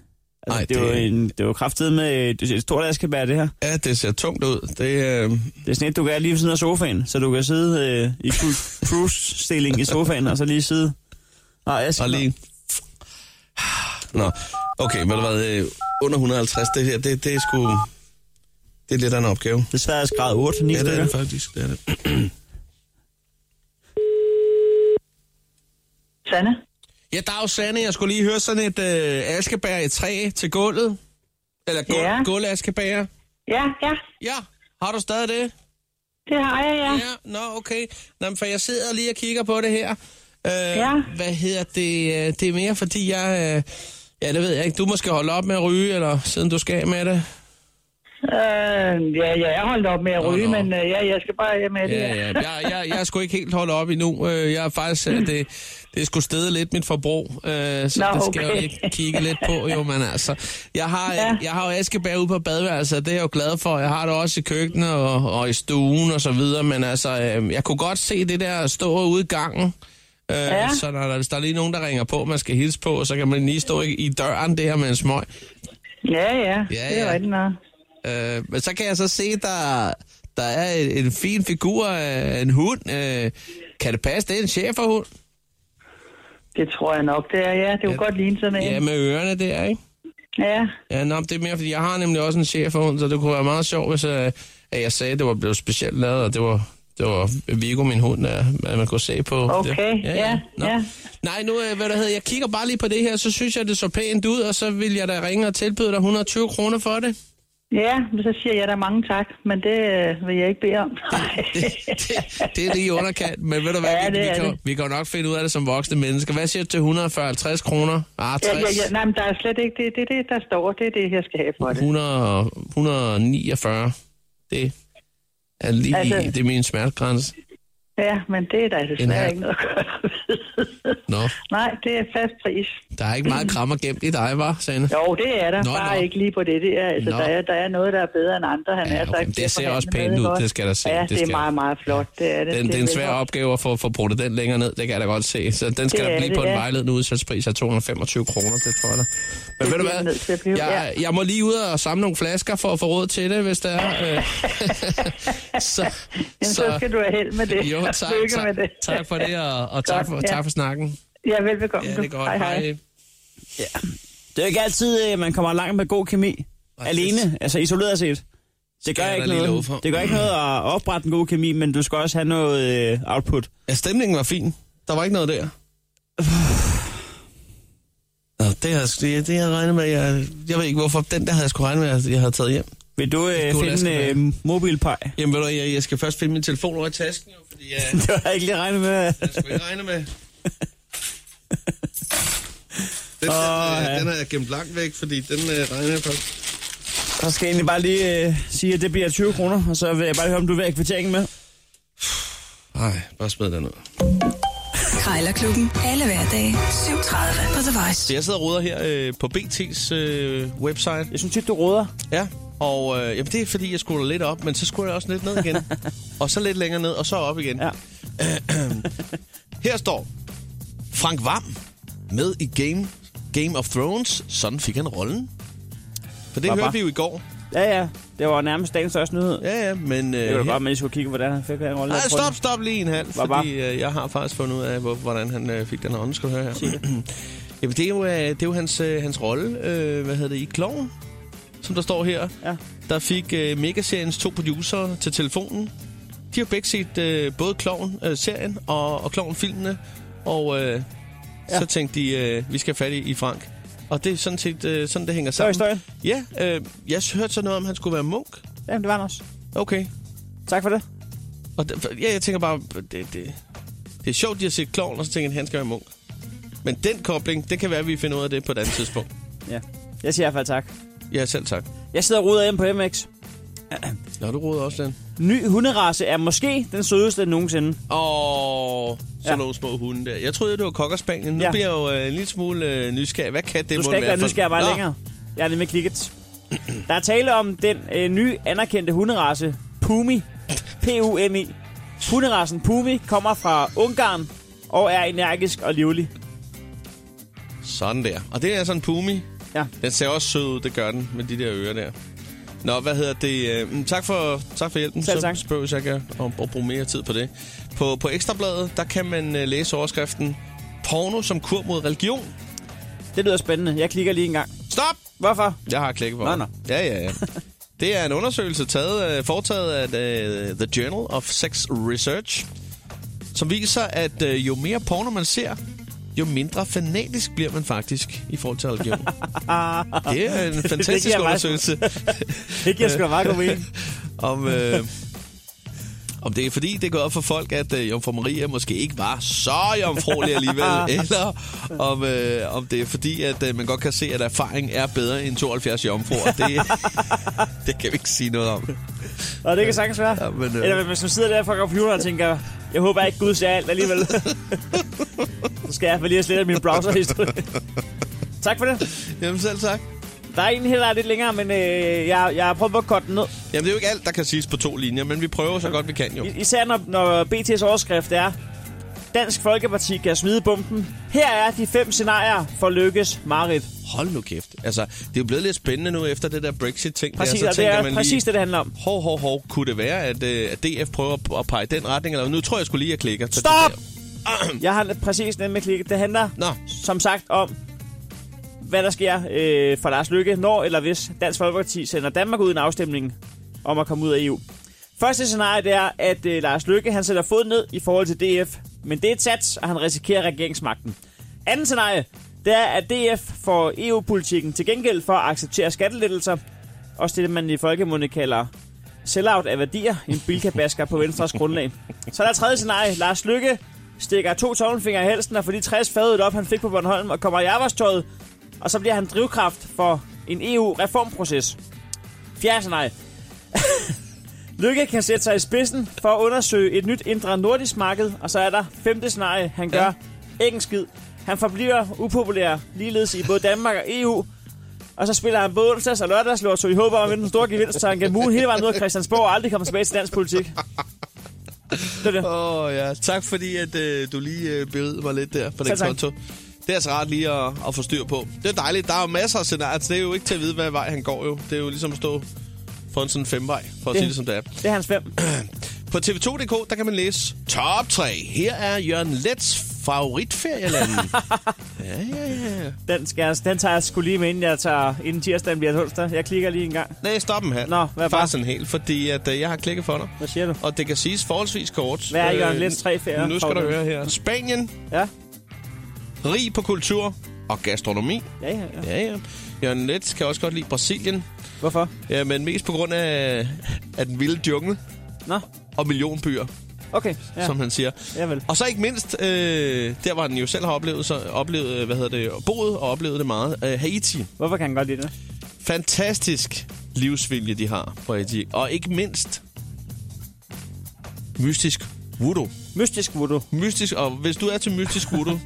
Speaker 2: Nej,
Speaker 3: Ej, det, er jo
Speaker 2: det-
Speaker 3: en, det er jo kraftedet med et, et stort askebær, det her.
Speaker 2: Ja, det ser tungt ud. Det, øh,
Speaker 3: Det er sådan et, du kan have lige ved siden af sofaen, så du kan sidde øh, i cru- cruise-stilling i sofaen, og så lige sidde... Nej, jeg
Speaker 2: og lige... Nå, okay, men hvad, øh, under 150, det her, det, det er sgu... Det er lidt af en opgave.
Speaker 3: Desværre er skræd 8, 9
Speaker 2: Ja, det er
Speaker 3: stykker.
Speaker 2: det faktisk. Det er det.
Speaker 9: Sanne?
Speaker 2: Ja, dag Sanne, jeg skulle lige høre sådan et øh, askebær i træ til gulvet. Eller gul, ja.
Speaker 9: Ja.
Speaker 2: gulvaskebær.
Speaker 9: Ja, ja.
Speaker 2: Ja, har du stadig det?
Speaker 9: Det har jeg, ja.
Speaker 2: Ja, nå, okay. Nå, men for jeg sidder lige og kigger på det her. Øh, ja. Hvad hedder det? Øh, Det er mere, fordi jeg... Øh, ja, det ved jeg ikke. Du måske holde op med at ryge, eller siden du skal af med det.
Speaker 9: Øh, ja, ja, jeg holdt op med at
Speaker 2: Nå,
Speaker 9: ryge,
Speaker 2: nå.
Speaker 9: men øh, ja, jeg skal bare hjem med det.
Speaker 2: Ja, ja. Jeg, jeg, jeg er sgu ikke helt holdt op endnu. Øh, Jeg er faktisk... øh, Det, det skulle stede lidt mit forbrug, øh, så
Speaker 9: Nå,
Speaker 2: det skal jeg jo
Speaker 9: okay.
Speaker 2: lige kigge lidt på. Jo, men altså... Jeg har,
Speaker 9: Ja.
Speaker 2: jeg har jo askebær ude på badeværelset, og det er jeg jo glad for. Jeg har det også i køkkenet og, og i stuen og så videre, men altså... øh, Jeg kunne godt se det der stå ude i gangen. Øh, ja.
Speaker 9: Ja.
Speaker 2: Så når der, hvis der er lige nogen, der ringer på, man skal hilse på, så kan man lige stå i, i døren der med en smøg.
Speaker 9: Ja, ja,
Speaker 2: Ja,
Speaker 9: det er
Speaker 2: ja.
Speaker 9: rigtigt nok.
Speaker 2: Øh, men så kan jeg så se, der, der er en, en fin figur af en hund. Øh, kan det passe, det er en cheferhund?
Speaker 9: Det tror jeg nok, det er, ja. Det kunne
Speaker 2: Ja.
Speaker 9: godt ligne sådan en.
Speaker 2: Ja, med ørerne der, ikke?
Speaker 9: Ja,
Speaker 2: Ja, nå, men det er mere, fordi jeg har nemlig også en cheferhund, så det kunne være meget sjovt, hvis øh, at jeg sagde, at det var blevet specielt lavet, og det var, det var Vigo, min hund, der, at man kunne se på.
Speaker 9: Okay,
Speaker 2: det.
Speaker 9: ja,
Speaker 2: Nå.
Speaker 9: ja.
Speaker 2: Nej, nu, øh, hvad der hedder, jeg kigger bare lige på det her, så synes jeg, det så pænt ud, og så vil jeg da ringe og tilbyde dig 120 kroner for det.
Speaker 9: ja, men så siger jeg da mange tak, men det øh, vil jeg ikke bede om.
Speaker 2: det, det, det er lige i underkant, men ved du hvad,
Speaker 9: Ja,
Speaker 2: ja, vi,
Speaker 9: det
Speaker 2: vi,
Speaker 9: er
Speaker 2: kan, jo-
Speaker 9: det.
Speaker 2: vi kan jo nok finde ud af det som voksne mennesker. Hvad siger du til 150 kroner? Ah, 60,
Speaker 9: ja, ja, ja, nej, men der er slet ikke det, det, det, der står. Det er det, jeg skal have for det.
Speaker 2: 100, 149. Det er lige, altså,
Speaker 9: Altså-
Speaker 2: det er min smertegrænse.
Speaker 9: Ja, men det er der altså
Speaker 2: her.
Speaker 9: desværre ikke noget at gøre ved.
Speaker 2: Nå,
Speaker 9: Nej, det er fast pris.
Speaker 2: der er ikke meget krammer gemt i dig, var Sanne?
Speaker 9: Jo, det er der.
Speaker 2: Nå,
Speaker 9: Nå, Bare
Speaker 2: nå.
Speaker 9: nå. ikke lige på det der. Altså,
Speaker 2: Nå.
Speaker 9: der, er, der er noget, der er bedre end andre, han
Speaker 2: Ja,
Speaker 9: er
Speaker 2: okay,
Speaker 9: sagt.
Speaker 2: men det
Speaker 9: til at
Speaker 2: ser også
Speaker 9: forhandle
Speaker 2: pænt
Speaker 9: med,
Speaker 2: ud,
Speaker 9: ikke
Speaker 2: det skal der se,
Speaker 9: Ja,
Speaker 2: det
Speaker 9: det, det
Speaker 2: skal-
Speaker 9: er meget, meget flot. Det er det.
Speaker 2: Den, det er en svær
Speaker 9: velkommen.
Speaker 2: opgave at få, få brugt den længere ned, det kan jeg da godt se. Så den skal
Speaker 9: Det
Speaker 2: der
Speaker 9: er
Speaker 2: blive
Speaker 9: det,
Speaker 2: på en
Speaker 9: ja.
Speaker 2: vejledende udsalgspris af 225 kroner, det tror jeg da. Men
Speaker 9: Det
Speaker 2: ved du
Speaker 9: bliver den nødt til at
Speaker 2: hvad,
Speaker 9: blive,
Speaker 2: jeg, jeg må lige ud og samle nogle flasker for at få råd til det, hvis der er. øh. så,
Speaker 9: Jamen, så, skal du have held med det.
Speaker 2: Jo,
Speaker 9: og
Speaker 2: tak,
Speaker 9: Lykke
Speaker 2: tak,
Speaker 9: med det.
Speaker 2: tak for det, og, og tak,
Speaker 9: Godt,
Speaker 2: for,
Speaker 9: ja.
Speaker 2: tak for snakken.
Speaker 9: Ja, velbekomme.
Speaker 2: Ja,
Speaker 9: du.
Speaker 2: det er godt.
Speaker 9: Hej, hej.
Speaker 3: Det er jo ikke altid, øh, man kommer langt med god kemi.
Speaker 2: Nej,
Speaker 3: Alene,
Speaker 2: det-
Speaker 3: altså isoleret set. Det gør
Speaker 2: jeg da
Speaker 3: ikke
Speaker 2: lige love
Speaker 3: noget.
Speaker 2: for.
Speaker 3: Det gør ikke noget at oprette en god kemi, men du skal også have noget øh, output.
Speaker 2: Ja, stemningen var fin. Der var ikke noget der. Nå, det har jeg, sgu- det, det har jeg regnet med. Jeg, jeg ved ikke, hvorfor den der havde jeg sgu regnet med, at jeg havde taget hjem.
Speaker 3: Vil du øh,
Speaker 2: God
Speaker 3: finde
Speaker 2: askebær.
Speaker 3: en øh, mobilpej?
Speaker 2: Jamen ved du, jeg, jeg skal først finde min telefon over i tasken, jo, fordi jeg,
Speaker 3: Det har jeg ikke lige regnet med.
Speaker 2: jeg skulle ikke regne med. Den,
Speaker 3: Åh,
Speaker 2: den, øh,
Speaker 3: ja.
Speaker 2: den har jeg gemt langt væk, fordi den øh, regner jeg først.
Speaker 3: Så skal jeg egentlig bare lige øh, sige, at det bliver 20 kroner, og så vil jeg bare høre, om du vil have kvitteringen med.
Speaker 2: Nej, bare smid den ud.
Speaker 1: Krejlerklubben. Alle hverdage. 7.30 på The Voice.
Speaker 2: Så jeg sidder og ruder her øh, på BT's øh, website.
Speaker 3: Jeg synes tit, du råder.
Speaker 2: Ja, og øh, jamen, det er fordi, jeg scroller lidt op, men så scroller jeg også lidt ned igen. og så lidt længere ned, og så op igen.
Speaker 3: Ja.
Speaker 2: Her står Frank Vam med i Game, Game of Thrones. Sådan fik han rollen. For det
Speaker 3: Bare-
Speaker 2: hørte
Speaker 3: bare.
Speaker 2: vi jo i går.
Speaker 3: Ja, ja. Det var nærmest dagens største nyhed. Ja.
Speaker 2: Ja, ja, men... Øh,
Speaker 3: Det var da
Speaker 2: her-
Speaker 3: godt, man lige skulle kigge, hvordan han fik den rolle.
Speaker 2: Nej,
Speaker 3: Jeg tror,
Speaker 2: stop, stop lige en halv,
Speaker 3: Hvad var?
Speaker 2: fordi øh, jeg har faktisk fundet ud af, hvor, hvordan han øh, fik den her ånd, skal du høre her. Jamen, det er jo, øh, det er jo hans, øh, hans rolle, øh, hvad hedder det, i Kloven, som der står her.
Speaker 3: Ja.
Speaker 2: Der fik øh, Megaseriens to producer til telefonen. De har begge set øh, både Kloven-serien og, og Kloven-filmene, og øh, ja.
Speaker 3: Ja.
Speaker 2: så tænkte de, øh, vi skal have fat i, i Frank. Og det er sådan set, øh, sådan det hænger
Speaker 3: Det var
Speaker 2: sammen.
Speaker 3: historien.
Speaker 2: Ja, øh, jeg hørte så noget om, at han skulle være munk.
Speaker 3: Jamen, det var han også.
Speaker 2: Okay.
Speaker 3: Tak for det.
Speaker 2: Og det, ja, jeg tænker bare, det, det, det er sjovt, de har set klovn, og så tænker jeg, at han skal være munk. Men den kobling, det kan være, at vi finder ud af det på et andet tidspunkt.
Speaker 3: Ja. Jeg siger i hvert fald tak.
Speaker 2: Ja, selv tak.
Speaker 3: Jeg sidder og ruder hjem på MX.
Speaker 2: Nå, du roder også den.
Speaker 3: Ny hunderace er måske den sødeste nogensinde.
Speaker 2: Åh, sådan
Speaker 3: Ja.
Speaker 2: nogle små hunde der. Jeg troede, det var kokkerspanien. Nu
Speaker 3: Ja.
Speaker 2: bliver jeg jo øh, en lille smule øh, nysgerrig. Hvad kan det
Speaker 3: Du
Speaker 2: mon
Speaker 3: skal ikke
Speaker 2: være
Speaker 3: være
Speaker 2: for-
Speaker 3: nysgerrig bare
Speaker 2: Nå,
Speaker 3: længere. Jeg er nemlig klikket. Der er tale om den øh, nye anerkendte hunderace, Pumi. P-U-M-I. Hunderacen Pumi kommer fra Ungarn og er energisk og livlig.
Speaker 2: Sådan der. Og det er sådan en pumi.
Speaker 3: Ja.
Speaker 2: Den ser også sød ud, det gør den, med de der ører der. Nå, hvad hedder det? øh, mm, Tak for, tak for hjælpen.
Speaker 3: Selv
Speaker 2: så
Speaker 3: tak.
Speaker 2: spørger jeg ikke om at bruge mere tid på det. På, på Ekstrabladet, der kan man øh, læse overskriften Porno som kur mod religion.
Speaker 3: Det lyder spændende. Jeg klikker lige en gang.
Speaker 2: Stop!
Speaker 3: Hvorfor?
Speaker 2: Jeg har klikket på
Speaker 3: Nå,
Speaker 2: den.
Speaker 3: nå.
Speaker 2: Ja, ja, ja. Det er en undersøgelse taget, øh, foretaget af øh, The Journal of Sex Research, som viser, at øh, jo mere porno man ser, jo mindre fanatisk bliver man faktisk i forhold til religion. det er en fantastisk
Speaker 3: giver mig-
Speaker 2: undersøgelse.
Speaker 3: Det giver sgu da meget god mening.
Speaker 2: om, øh, om det er fordi, det går op for folk, at øh, Jomfru Maria måske ikke var så jomfruelig alligevel, eller om, øh, om det er fordi, at øh, man godt kan se, at erfaring er bedre end 72 jomfruer. Det, det kan vi ikke sige noget om.
Speaker 3: Og det kan sagtens være.
Speaker 2: Ja, men, øh.
Speaker 3: Eller hvis man sidder der fra computeren og tænker, jeg håber ikke Gud ser alt alligevel. Så skal jeg for lige at slette min browserhistorie. tak for det.
Speaker 2: Jamen selv tak.
Speaker 3: Der er en her, der er lidt længere, men øh, jeg, jeg prøver på at korte den ned.
Speaker 2: Jamen det er jo ikke alt, der kan siges på to linjer, men vi prøver så godt vi kan jo.
Speaker 3: I- Især når, når BT's overskrift er, Dansk Folkeparti kan smide bomben. Her er de fem scenarier for Lykkes Marit.
Speaker 2: Hold nu kæft. Altså, det er jo blevet lidt spændende nu efter det der Brexit-ting. der,
Speaker 3: Præcis,
Speaker 2: så
Speaker 3: og det
Speaker 2: tænker
Speaker 3: er
Speaker 2: man
Speaker 3: præcis det, det handler om.
Speaker 2: Hov, hov, hov. Kunne det være, at, øh, at DF prøver at- at pege i den retning? Eller nu tror jeg, jeg skulle lige, at klikker. Så det
Speaker 3: Stop!
Speaker 2: der-
Speaker 3: Jeg har præcis nemlig klikket. Det handler,
Speaker 2: Nå.
Speaker 3: som sagt, om, hvad der sker øh, for Lars Lykke, når eller hvis Dansk Folkeparti sender Danmark ud i en afstemning om at komme ud af EU. Første scenarie det er, at øh, Lars Lykke han sætter fod ned i forhold til DF, men det er et sats, og han risikerer regeringsmagten. Andet scenarie, det er, at DF får EU-politikken til gengæld for at acceptere skattelettelser, også det, man i folkemunde kalder sellout af værdier, en bilkabasker på Venstres grundlag. Så er der et tredje scenarie. Lars Lykke stikker to tommelfingre i halsen og får de 60 fadet op, han fik på Bornholm, og kommer i arbejdstøjet, og så bliver han drivkraft for en EU-reformproces. Fjerde scenarie. Lykke kan sætte sig i spidsen for at undersøge et nyt indre nordisk marked, og så er der femte scenarie, han gør ikke en skid. Han forbliver upopulær ligeledes i både Danmark og E EU, og så spiller han både onsdags og lørdagslotto i håb om at vinde den store gevinst, så han kan mule hele vejen ud af Christiansborg og aldrig komme tilbage til dansk politik. Det er det.
Speaker 2: Åh oh, ja, tak fordi at øh, du lige øh, berigede mig lidt der på den
Speaker 3: Selv tak.
Speaker 2: konto. Det er altså rart lige at, at få styr på. Det er dejligt, der er jo masser af scenarier, så det er jo ikke til at vide, hvad vej han går jo. Det er jo ligesom at stå foran sådan en femvej, for at
Speaker 3: Det-
Speaker 2: sige det som det er.
Speaker 3: Det er hans fem.
Speaker 2: På tv2.dk, der kan man læse Top 3. Her er Jørgen Lets favoritferielande. ja, ja, ja.
Speaker 3: Den, skal jeg, den tager jeg sgu lige med, inden, jeg tager, inden tirsdagen bliver et onsdag. Jeg klikker lige en gang.
Speaker 2: Nej, stop en halv.
Speaker 3: Nå, hvad var-
Speaker 2: Faktisk en hel, fordi at, øh, jeg har klikket for dig.
Speaker 3: Hvad siger du?
Speaker 2: Og det kan siges forholdsvis kort.
Speaker 3: Hvad er Jørgen
Speaker 2: Øh,
Speaker 3: Leths tre ferier?
Speaker 2: Nu skal du
Speaker 3: Favorit?
Speaker 2: høre her. Spanien,
Speaker 3: Ja,
Speaker 2: rig på kultur og gastronomi.
Speaker 3: ja, ja. ja.
Speaker 2: Ja, ja. Jørgen Letz kan også godt lide Brasilien,
Speaker 3: Hvorfor?
Speaker 2: ja, men mest på grund af, af den vilde jungle
Speaker 3: Nå,
Speaker 2: og millionbyer,
Speaker 3: okay.
Speaker 2: ja.
Speaker 3: Ja,
Speaker 2: som han siger.
Speaker 3: javel.
Speaker 2: Og så ikke mindst, øh, der hvor han jo selv har oplevet, så, oplevet øh, hvad hedder det, boet og oplevet det meget, øh, Haiti.
Speaker 3: Hvorfor kan han godt lide det?
Speaker 2: Fantastisk livsvilje, de har på Haiti. Og ikke mindst, mystisk voodoo.
Speaker 3: Mystisk voodoo.
Speaker 2: Mystisk, og hvis du er til mystisk voodoo,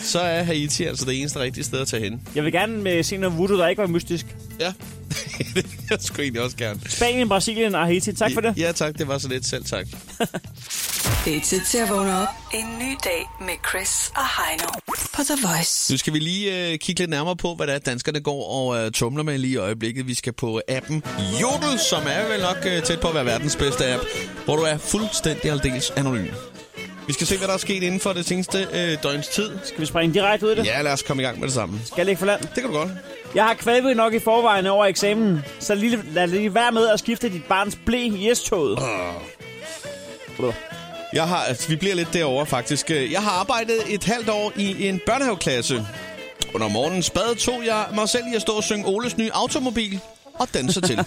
Speaker 2: så er Haiti altså det eneste rigtige sted at tage hen.
Speaker 3: Jeg vil gerne øh, se noget voodoo, der ikke var mystisk.
Speaker 2: Ja, det vil jeg skulle egentlig også gerne.
Speaker 3: Spanien, Brasilien og Haiti. Tak for det.
Speaker 2: Ja tak, det var så lidt. Selv tak.
Speaker 1: Det er tid til at vågne op. En ny dag med Chris og Heino. på The Voice.
Speaker 2: Nu skal vi lige øh, kigge lidt nærmere på, hvad der er, danskerne går og øh, tumler med lige i øjeblikket. Vi skal på appen Jodel, som er vel nok øh, tæt på at være verdens bedste app, hvor du er fuldstændig aldeles anonym. Vi skal se, hvad der er sket inden for det seneste øh, døgns tid.
Speaker 3: Skal vi springe direkte ud i det?
Speaker 2: Ja, lad os komme i gang med det samme.
Speaker 3: Skal jeg lægge for land?
Speaker 2: Det kan du godt.
Speaker 3: Jeg har kvalmet nok i forvejen over eksamen, så lige, lad lige være med at skifte dit barns blæ i S-toget.
Speaker 2: Jeg har, altså, vi bliver lidt derovre faktisk. Øh, Jeg har arbejdet et halvt år i en børnehaveklasse. Under morgenen spade tog jeg mig selv i at stå og synge Oles nye automobil og danse til.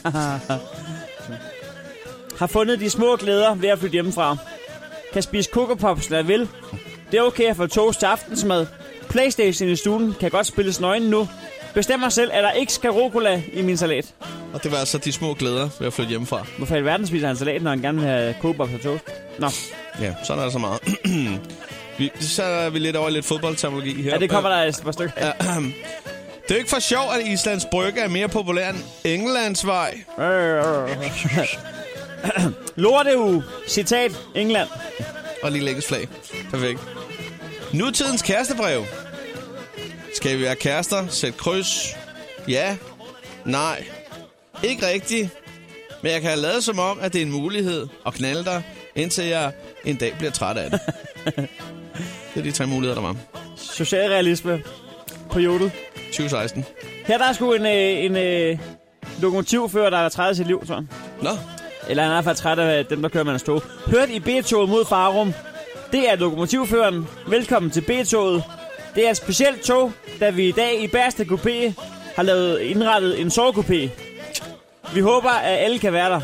Speaker 3: Har fundet de små glæder ved at flytte hjemmefra. Kan spise kokopops, når jeg vil. Det er okay at få toast til aftensmad. Playstation i stuen kan godt spilles nøgen nu. Bestemmer selv, at der ikke skal rucola i min salat.
Speaker 2: og det var altså de små glæder ved at flytte hjemmefra.
Speaker 3: Hvorfor i verden spiser han salat, når han gerne vil have kokopops og toast? Nå,
Speaker 2: Ja, sådan er der så meget. vi, så er vi lidt over i lidt fodboldterminologi her.
Speaker 3: ja, det kommer der et par stykker af.
Speaker 2: Det er jo ikke for sjovt, at Islands Brygge er mere populær end Englands vej.
Speaker 3: Lorteuge, citat, England.
Speaker 2: Og lige lægges flag. Perfekt. Nutidens kærestebrev. Skal vi være kærester? Sæt kryds. Ja. Nej. Ikke rigtigt. Men jeg kan have lavet som om, at det er en mulighed at knalde dig, indtil jeg en dag bliver træt af det. det er de tre muligheder, der var.
Speaker 3: Socialrealisme på jodel.
Speaker 2: 2016.
Speaker 3: Her der er sgu en, øh, en øh, lokomotivfører, der er træt af sit liv, tror jeg.
Speaker 2: Nå,
Speaker 3: Eller han er i hvert fald træt af dem, der kører med hans tog. Hørt i B-toget mod Farum. Det er lokomotivføreren. Velkommen til B-toget. Det er et specielt tog, da vi i dag i Bærste Coupé har lavet indrettet en sovecoupé. Vi håber, at alle kan være der.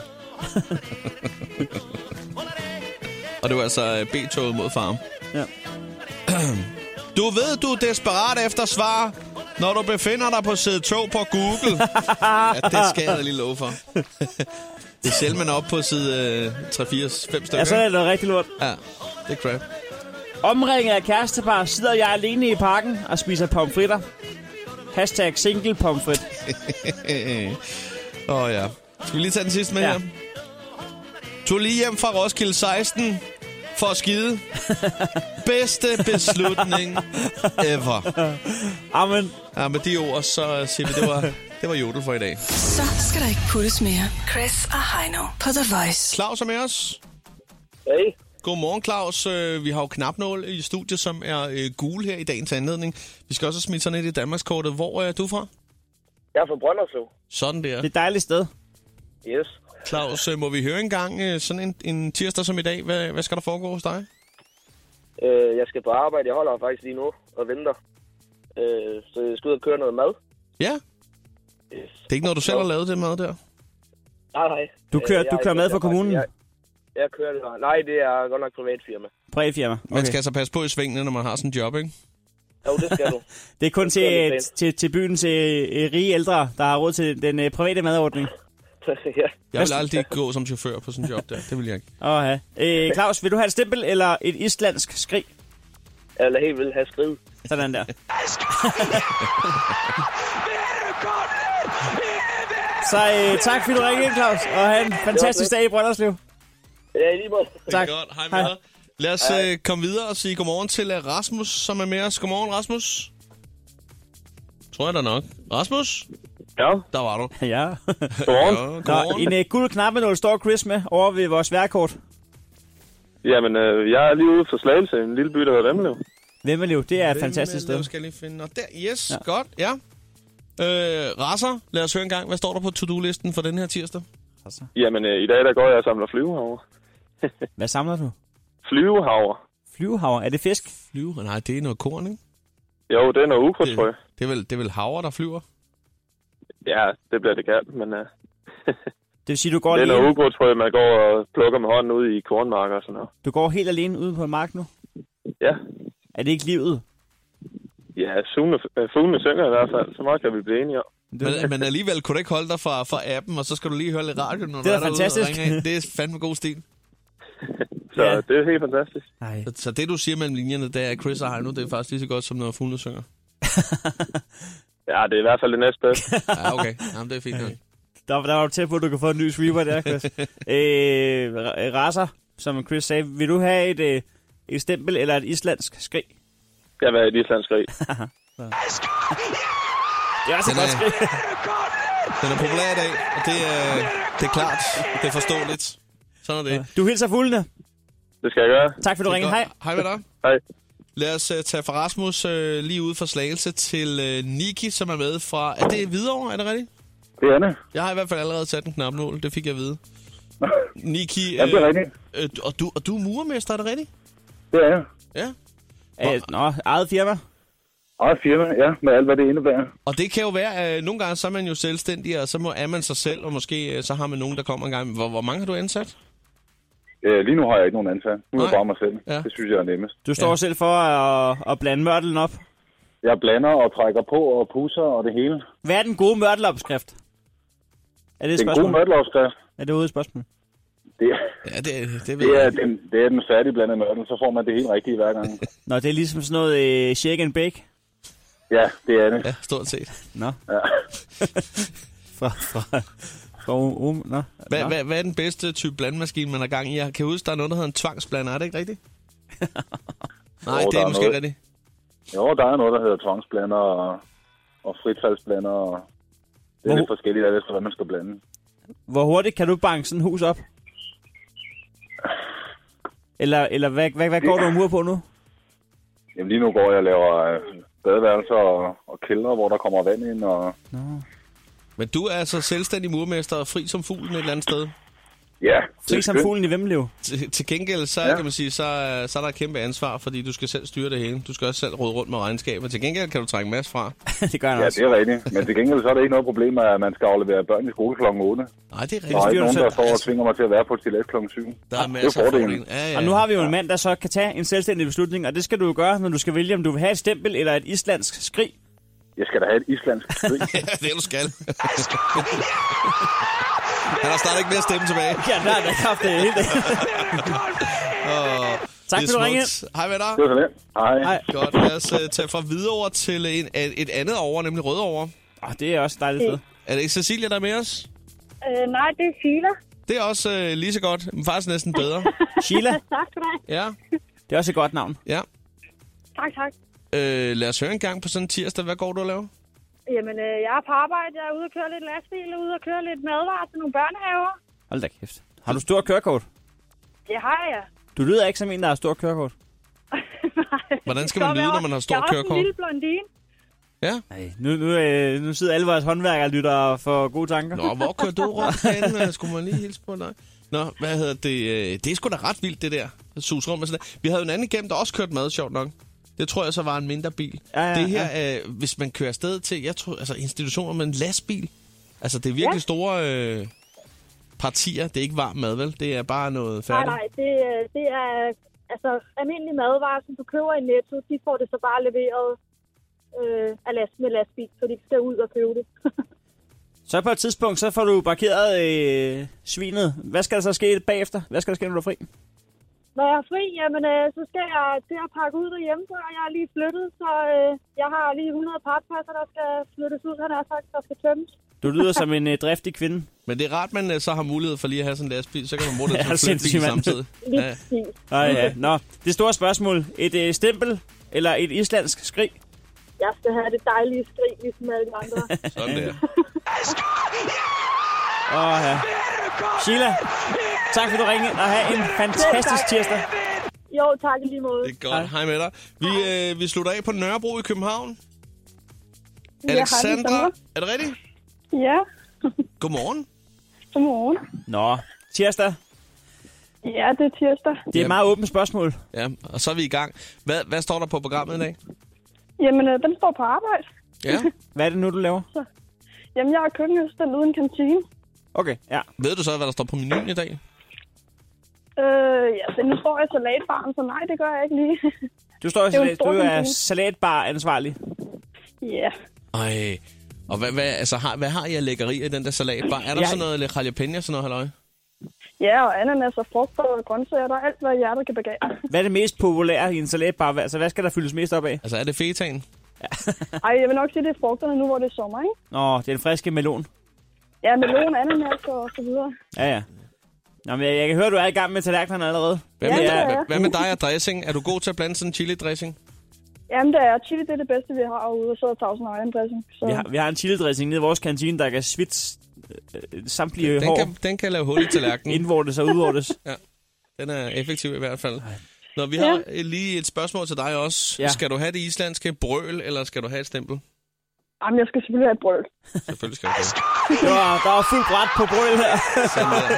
Speaker 2: Og det var altså øh, B-toget mod farm.
Speaker 3: Ja.
Speaker 2: Du ved, du er desperat efter svar, når du befinder dig på side 2 på Google. ja, det skal jeg da lige love for. det er sjældent, man er oppe på side øh, 3, 4, 5 stykker.
Speaker 3: Ja, så er Altså, det noget rigtig lort.
Speaker 2: ja, det er crap.
Speaker 3: Omringet af kærestepar sidder jeg alene i parken og spiser pomfritter. Hashtag single pomfrit.
Speaker 2: Øh, Åh oh, ja. Skal vi lige tage den sidste med ja.
Speaker 3: Ja.
Speaker 2: her? Tog lige hjem fra Roskilde 16 for at skide. Bedste beslutning ever.
Speaker 3: Amen.
Speaker 2: Ja, med de ord, så siger vi, det var, det var jodel for i dag.
Speaker 1: Så skal der ikke puttes mere. Chris og Heino på The Voice.
Speaker 2: Claus er med os.
Speaker 5: Hey.
Speaker 2: Godmorgen, Claus. Øh, Vi har jo knapnål i studiet, som er øh, gul her i dagens anledning. Vi skal også smide sådan et i Danmarkskortet. Hvor er du fra?
Speaker 5: Jeg er fra Brønderslev.
Speaker 2: Sådan der.
Speaker 3: Det er et dejligt sted.
Speaker 5: Yes.
Speaker 2: Claus, øh, må vi høre en gang øh, sådan en, en tirsdag som i dag? Hvad, hvad skal der foregå hos dig?
Speaker 5: Øh, jeg skal på arbejde. Jeg holder her faktisk lige nu og venter. Øh, så jeg skal ud og køre noget mad.
Speaker 2: Ja, det
Speaker 5: Yes.
Speaker 2: er ikke noget, du selv har lavet det mad der.
Speaker 5: Nej, nej.
Speaker 3: Du kører-
Speaker 5: Øh,
Speaker 3: du
Speaker 5: jeg-
Speaker 3: kører mad for
Speaker 5: jeg- jeg-
Speaker 3: kommunen?
Speaker 5: Jeg, jeg kører det. Nej, det er godt nok privat firma.
Speaker 3: Prægefirma.
Speaker 2: Man skal altså passe på i svingene, når man har sådan en job, ikke?
Speaker 5: Jo, det skal du.
Speaker 3: Det er kun
Speaker 5: skal jeg
Speaker 3: til,
Speaker 5: lige
Speaker 3: til, til byen til øh, rige ældre, der har råd til den øh, private madordning.
Speaker 5: ja.
Speaker 2: Jeg vil aldrig gå som chauffør på sådan en job der. Det vil jeg ikke.
Speaker 3: Åh, ja. Øh, Claus, vil du have et stempel eller et islandsk skrig?
Speaker 5: Jeg vil helt vildt have skridt.
Speaker 3: Sådan der. Så øh, tak, fordi du ringede ind, Claus, og have en fantastisk dag i Brønderslev.
Speaker 5: Ja, i lige måde.
Speaker 3: Tak.
Speaker 2: Godt, hej med
Speaker 3: Hej.
Speaker 2: dig. Lad os øh, komme videre og sige godmorgen til øh, Rasmus, som er med os. Godmorgen, Rasmus. Tror jeg da nok. Rasmus,
Speaker 5: Ja,
Speaker 2: der var du.
Speaker 3: Ja.
Speaker 5: godmorgen.
Speaker 2: Ja,
Speaker 3: Nå, en
Speaker 2: godmorgen.
Speaker 3: øh, guld knappenål står Chris med over ved vores værkort.
Speaker 5: Jamen, øh, jeg er lige ude for Slagelse, en lille by, der hedder Vemmelev.
Speaker 3: Vemmelev, det er et fantastisk
Speaker 2: Hvem, øh,
Speaker 3: sted.
Speaker 2: Skal jeg lige finde. Nå, der, yes, ja. godt, ja. Øh, Rasser, lad os høre en gang. Hvad står der på to-do-listen for den her tirsdag?
Speaker 5: Jamen, øh, i dag der går jeg og samler flyvehavre.
Speaker 3: Hvad samler du?
Speaker 5: Flyvehavre?
Speaker 3: Flyvehavre. Er det fisk?
Speaker 2: Flyve? Nej, det er noget korn, ikke?
Speaker 5: Jo, det er noget ukrudtsfrø.
Speaker 2: Det, det, er vel, det er vel havre, der flyver?
Speaker 5: Ja, det bliver det galt, men øh,
Speaker 3: Det vil sige, du går,
Speaker 5: det er
Speaker 3: alene,
Speaker 5: noget ukrudtsfrø, man går og plukker med hånden ud i kornmarker og sådan noget.
Speaker 3: du går helt alene ude på en mark nu?
Speaker 5: Ja,
Speaker 3: Er det ikke livet?
Speaker 5: ja fuglene, øh, fuglene synger i hvert fald. Så meget kan vi blive enige om.
Speaker 2: Men, men alligevel kunne du ikke holde dig fra, fra appen, og så skal du lige høre lidt radio, når
Speaker 3: Det er
Speaker 2: du er derude
Speaker 3: fantastisk.
Speaker 2: og ringer ind. Det er fandme god stil.
Speaker 5: Så
Speaker 3: Ja.
Speaker 5: ja. det er helt fantastisk.
Speaker 3: Nej.
Speaker 2: Så, så det, du siger mellem linjerne, det er, at Chris og Heino, det er faktisk lige så godt, som når fuglene synger.
Speaker 5: Ja, det er i hvert fald det næste bedste.
Speaker 2: Ja, okay. Jamen, det er fint nok.
Speaker 3: Der, der var du tæt på, at du kan få en ny sweeper der, Chris. øh, Rasser, som Chris sagde, vil du have et, øh, et stempel eller et islandsk skrig?
Speaker 10: Det har været et islandskrig.
Speaker 3: Det er altså
Speaker 2: Den
Speaker 3: godt
Speaker 2: er-
Speaker 3: skridt.
Speaker 2: Den er populær i dag, og det er, det er klart. Det er forståeligt. Sådan er det.
Speaker 3: Du hilser fuglene.
Speaker 10: Det skal jeg gøre.
Speaker 3: Tak for du ringede. Hej.
Speaker 2: Hej med dig.
Speaker 10: Hej.
Speaker 2: Lad os uh, tage fra Rasmus uh, lige ud fra Slagelse til uh, Niki, som er med fra... Er det Hvidovre, er det rigtigt?
Speaker 10: Det er Anne.
Speaker 2: Jeg har i hvert fald allerede sat en knapnål, det fik jeg at vide. Niki,
Speaker 10: Jamen, det er rigtigt.
Speaker 2: øh, og, du, og du er murermester, er det rigtigt?
Speaker 10: Det er jeg.
Speaker 2: Ja.
Speaker 3: Æ, nå, eget firma.
Speaker 10: Eget firma, ja, med alt, hvad det indebærer.
Speaker 2: Og det kan jo være, at nogle gange så er man jo selvstændig, og så må, er man sig selv, og måske øh, så har man nogen, der kommer en gang. Hvor, hvor mange har du ansat?
Speaker 10: Øh, lige nu har jeg ikke nogen ansat. Nu er
Speaker 2: Nej.
Speaker 10: jeg bare mig selv.
Speaker 2: Ja.
Speaker 10: Det synes jeg er nemmest.
Speaker 3: Du står
Speaker 2: Ja.
Speaker 3: ja. selv for at, at blande mørtelen op.
Speaker 10: Jeg blander og trækker på og pusser og det hele.
Speaker 3: Hvad er den gode mørtelopskrift? Er det
Speaker 10: Det
Speaker 3: et
Speaker 10: er en god
Speaker 3: spørgsmål?
Speaker 10: mørtelopskrift.
Speaker 3: er det overhovedet et spørgsmål?
Speaker 10: Det, er-
Speaker 2: Ja, det, det ved
Speaker 10: det, er
Speaker 2: jeg. ikke.
Speaker 10: den, det er den færdige blandede mørtel, så får man det helt rigtige hver gang.
Speaker 3: Nå, det er ligesom sådan noget øh, shake and bake.
Speaker 10: Ja, det er det.
Speaker 2: Ja, stort set.
Speaker 3: Nå.
Speaker 10: Ja.
Speaker 3: fra, fra, fra um, um, nå.
Speaker 2: Hvad,
Speaker 3: nå.
Speaker 2: hvad, hvad er den bedste type blandmaskine, man har gang i? Jeg kan huske, der er noget, der hedder en tvangsblander. Er det ikke rigtigt? Nej,
Speaker 10: Jo,
Speaker 2: det
Speaker 10: der
Speaker 2: er
Speaker 10: er
Speaker 2: måske
Speaker 10: noget.
Speaker 2: rigtigt.
Speaker 10: Jo, der er noget, der hedder tvangsblander og, og fritfaldsblander. Og det er
Speaker 3: Hvor-
Speaker 10: lidt forskelligt, alt efter hvad man skal blande.
Speaker 3: Hvor hurtigt kan du banke sådan et hus op? Eller, eller hvad, hvad, hvad går du mur på nu?
Speaker 10: Jamen, lige nu går jeg og laver øh, badeværelser og, og kældre, hvor der kommer vand ind. Og,
Speaker 2: Men du er altså selvstændig murmester og fri som fuglen et eller andet sted.
Speaker 10: ja, det er
Speaker 3: Se som
Speaker 10: skønt.
Speaker 3: fuglen i Vemlev.
Speaker 2: Til, til gengæld, så, ja.
Speaker 10: Ja.
Speaker 2: kan man sige, så, er- så er der et kæmpe ansvar, fordi du skal selv styre det hele. Du skal også selv rode rundt med regnskaber. Til gengæld kan du trække masser fra.
Speaker 3: det gør han
Speaker 10: Ja,
Speaker 3: også.
Speaker 10: det er rigtigt. Men til gengæld så er der ikke noget problem, at man skal aflevere børn i skole kl. 8.
Speaker 2: Nej, det er
Speaker 10: Der er
Speaker 2: rigtigt.
Speaker 10: ikke
Speaker 3: styrer du
Speaker 10: nogen, der
Speaker 3: selv.
Speaker 10: står og tvinger mig til at være på et stilet kl. 7.
Speaker 2: Der er
Speaker 10: det
Speaker 2: masser af
Speaker 10: fordelen.
Speaker 2: fordele. Ja, ja.
Speaker 3: Og nu har vi jo en mand, der så kan tage en selvstændig beslutning, og det skal du jo gøre, når du skal vælge, om du vil have et stempel eller et islandsk skrig.
Speaker 10: Jeg skal da have et islandsk krig.
Speaker 2: Ja, det er du skal. Han har snart ikke mere stemme tilbage.
Speaker 3: Ja, der er da kraft det hele dagen. tak
Speaker 2: Det
Speaker 3: for
Speaker 2: er
Speaker 3: du ringede.
Speaker 2: smukt. Hej med dig.
Speaker 10: det var så lidt. Hej.
Speaker 3: Hej.
Speaker 2: Godt, lad os uh, tage fra Hvidovre til en, et andet over, nemlig Rødovre.
Speaker 3: Oh, det er også et dejligt sted.
Speaker 2: Er det ikke Cecilia, der er med os?
Speaker 7: Øh, nej, det er Sheila.
Speaker 2: Det er også uh, lige så godt, men faktisk næsten bedre.
Speaker 3: Sheila,
Speaker 7: Tak for dig.
Speaker 2: Ja,
Speaker 3: det er også et godt navn.
Speaker 2: ja.
Speaker 7: Tak, tak.
Speaker 2: Øh, lad os høre en gang på sådan en tirsdag. Hvad går du og laver?
Speaker 7: Jamen, øh, jeg er på arbejde. Jeg er ude og køre lidt lastbil, ude og køre lidt madvarer til nogle børnehaver.
Speaker 3: Hold da kæft. Har du stor kørekort?
Speaker 7: Det har jeg.
Speaker 3: Du lyder ikke som en, der har stor kørekort.
Speaker 2: Hvordan skal man lyde, når man har stor
Speaker 7: jeg Jeg er også
Speaker 2: kørekort?
Speaker 7: en lille blondine.
Speaker 2: Ja.
Speaker 3: Nej, nu, nu, øh, nu sidder alle vores håndværkere og lytter og får gode tanker.
Speaker 2: Nå, hvor kører du rundt henne? Øh, Skulle man lige hilse på dig? Nå, hvad hedder det? Øh, Det er sgu da ret vildt, det der. Sus rum og sådan der. Vi havde en anden igennem, der også kørte mad, sjovt nok. Det tror jeg så var en mindre bil.
Speaker 3: Ja, ja,
Speaker 2: det her, øh, hvis man kører afsted til, jeg tror, altså institutioner med en lastbil. Altså, det er virkelig ja. store øh, partier. Det er ikke varm mad, vel? Det er bare noget
Speaker 7: Nej,
Speaker 2: færdigt.
Speaker 7: nej, det, øh, det er altså, almindelige madvarer, som du køber i Netto. De får det så bare leveret øh, af last, med lastbil, så de ikke skal ud og købe det.
Speaker 3: Så på et tidspunkt, så får du parkeret øh, svinet. Hvad skal der så ske bagefter? Hvad skal der ske, når du er fri?
Speaker 7: Når jeg er fri, jamen, øh, så skal jeg til at pakke ud derhjemme, så jeg er lige flyttet, så øh, jeg har lige 100 pappasser, der skal flyttes ud, han har sagt, der skal tømmes.
Speaker 3: Du lyder som en øh, driftig kvinde.
Speaker 2: Men det er rart, man øh, så har mulighed for lige at have sådan en lastbil. Så kan man bruge det
Speaker 3: Ja,
Speaker 2: til at flytte
Speaker 3: sindssygt,
Speaker 2: bil
Speaker 3: mand.
Speaker 2: samtidig.
Speaker 7: Lige
Speaker 2: Ja.
Speaker 7: præcis.
Speaker 3: Nå, ja. Nå, det store spørgsmål. Et øh, stempel eller et islandsk skrig?
Speaker 7: Jeg skal have det dejlige skrig, ligesom alle de andre.
Speaker 2: Sådan der.
Speaker 3: Åh, ja. Sheila, tak for du ringede, og have en fantastisk tirsdag.
Speaker 7: jo, tak i lige måde.
Speaker 2: Det er godt. Hej med dig. Vi, øh, vi slutter af på Nørrebro i København.
Speaker 7: hej,
Speaker 2: Alexandra,
Speaker 7: Alexandra.
Speaker 2: er det rigtigt?
Speaker 7: Ja,
Speaker 2: Godmorgen.
Speaker 7: godmorgen.
Speaker 3: Nå, tirsdag.
Speaker 7: Ja, det er tirsdag.
Speaker 3: Det er et meget åbent spørgsmål.
Speaker 2: Ja, og så er vi i gang. Hvad, hvad står der på programmet i dag?
Speaker 7: Jamen, øh, den står på arbejde.
Speaker 2: Ja.
Speaker 3: Hvad er det nu, du laver?
Speaker 7: Jamen, jeg er køkkenassistent uden kantine.
Speaker 3: Okay, ja.
Speaker 2: Ved du så, hvad der står på menuen i dag?
Speaker 7: Øh, ja, så nu står jeg salatbaren, så nej, det gør jeg ikke lige.
Speaker 3: Du står
Speaker 7: Det er jo en
Speaker 3: salat,
Speaker 7: stor
Speaker 3: du er
Speaker 7: kantine.
Speaker 3: salatbar-ansvarlig.
Speaker 7: ja,
Speaker 2: Ej. Og hvad, hvad, altså, har, hvad har jeg lækkeri i den der salatbar? Er der
Speaker 3: Jeg-
Speaker 2: sådan noget lidt jalapeno, sådan noget halløj?
Speaker 7: ja og ananas og frugt og grøntsager, der er alt, hvad hjertet kan begære.
Speaker 3: Hvad er det mest populære i en salatbar? Hvad- Altså, hvad skal der fyldes mest op af?
Speaker 2: Altså, er det fetaen?
Speaker 7: Ej, jeg vil nok sige, det er frugterne nu, hvor det er sommer, ikke?
Speaker 3: Nå, det er en friske melon.
Speaker 7: Ja, melon, ananas og så videre.
Speaker 3: Ja, ja. Nå, men jeg, jeg kan høre, du er i gang med tallerkenerne allerede.
Speaker 2: Hvad med,
Speaker 7: Ja,
Speaker 2: dig,
Speaker 7: ja, ja.
Speaker 2: Hvad, hvad med dig og dressing? Er du god til at blande sådan en chili dressing?
Speaker 7: Jamen, det er chili, det er det bedste, vi har ude, og så er Thousand Island dressing. Så...
Speaker 3: Vi har, vi har en chili-dressing nede i vores kantine, der kan svitse øh, samtlige
Speaker 2: Den
Speaker 3: hår.
Speaker 2: kan, den kan lave hul i tallerkenen.
Speaker 3: Indvortes og udvortes.
Speaker 2: Den er effektiv i hvert fald. Nå, vi har øh, lige et spørgsmål til dig også.
Speaker 3: Ja.
Speaker 2: Ja. Skal du have det islandske brøl, eller skal du have et stempel?
Speaker 7: Jamen, jeg skal selvfølgelig have et brøl.
Speaker 2: Selvfølgelig skal du det.
Speaker 3: Der var, der var fuld bræt på brøl her.
Speaker 2: Sådan der.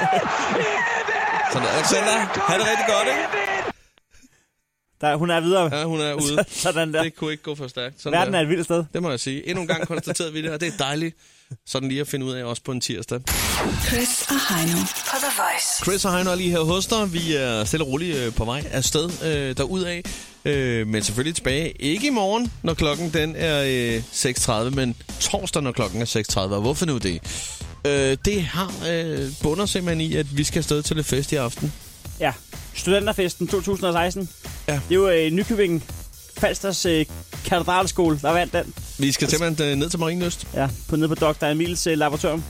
Speaker 2: Sådan der. Alexander, ha' det rigtig godt, ikke?
Speaker 3: Der, hun er videre.
Speaker 2: Ja, hun er ude.
Speaker 3: Sådan der.
Speaker 2: Det kunne ikke gå for stærkt. Sådan
Speaker 3: Verden er
Speaker 2: der.
Speaker 3: et vildt sted.
Speaker 2: Det må jeg sige. Endnu en gang konstaterede vi det, og det er dejligt sådan lige at finde ud af også på en tirsdag.
Speaker 1: Chris og Heino på The Voice.
Speaker 2: Chris og Heino er lige her hos dig. Vi er stille og roligt øh, på vej afsted øh, derudad. Øh, men selvfølgelig tilbage. Ikke i morgen, når klokken den er øh, 6.30, men torsdag, når klokken er 6.30. Og hvorfor nu det? Øh, det har øh, bunder simpelthen i, at vi skal afsted til lidt fest i aften.
Speaker 3: Ja. Studenterfesten 2016.
Speaker 2: Ja.
Speaker 3: Det var øh, Nykøbing Falsters øh, katedralskole, der vandt den.
Speaker 2: Vi skal simpelthen øh, ned til Marienlyst.
Speaker 3: Ja, på nede på Dr. Emils øh, laboratorium.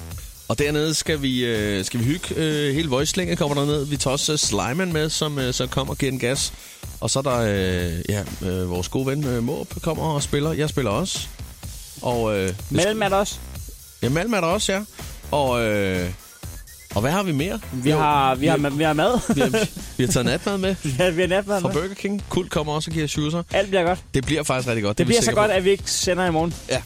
Speaker 2: Og dernede skal vi, øh, skal vi hygge. Øh, hele voicelænget kommer derned. Vi tager også øh, Slimen med, som øh, så kommer og giver en gas. Og så er der øh, ja, øh, vores gode ven øh, Måb kommer og spiller. Jeg spiller også. Og, øh, det-
Speaker 3: Mellem er der også.
Speaker 2: Ja, Malm er der også, ja. Og, øh, og hvad har vi mere?
Speaker 3: Vi har, vi har, vi har mad.
Speaker 2: vi, har, vi har taget natmad med
Speaker 3: ja, vi har natmad.
Speaker 2: fra
Speaker 3: med.
Speaker 2: Burger King. Kult kommer også og giver shoeser.
Speaker 3: Alt bliver godt.
Speaker 2: Det bliver faktisk rigtig godt.
Speaker 3: Det
Speaker 2: er vi
Speaker 3: bliver så
Speaker 2: sikre
Speaker 3: godt,
Speaker 2: på.
Speaker 3: at vi ikke sender i morgen.
Speaker 2: Ja.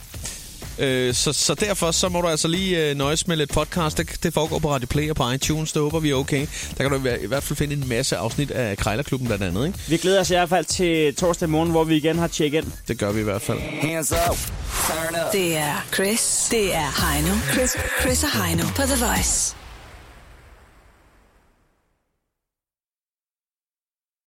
Speaker 2: Øh, så, så derfor så må du altså lige øh, nøjes med lidt podcast. Det, det foregår på Radio Play og på iTunes. Det håber vi er okay. Der kan du i, hver- i hvert fald finde en masse afsnit af Krejlerklubben blandt andet. Ikke?
Speaker 3: Vi glæder os i hvert fald til torsdag morgen, hvor vi igen har check-in.
Speaker 2: Det gør vi i hvert fald.
Speaker 8: Hands up. Turn up.
Speaker 1: Det er Chris. Det er Heino. Chris, Chris og Heino på The Voice.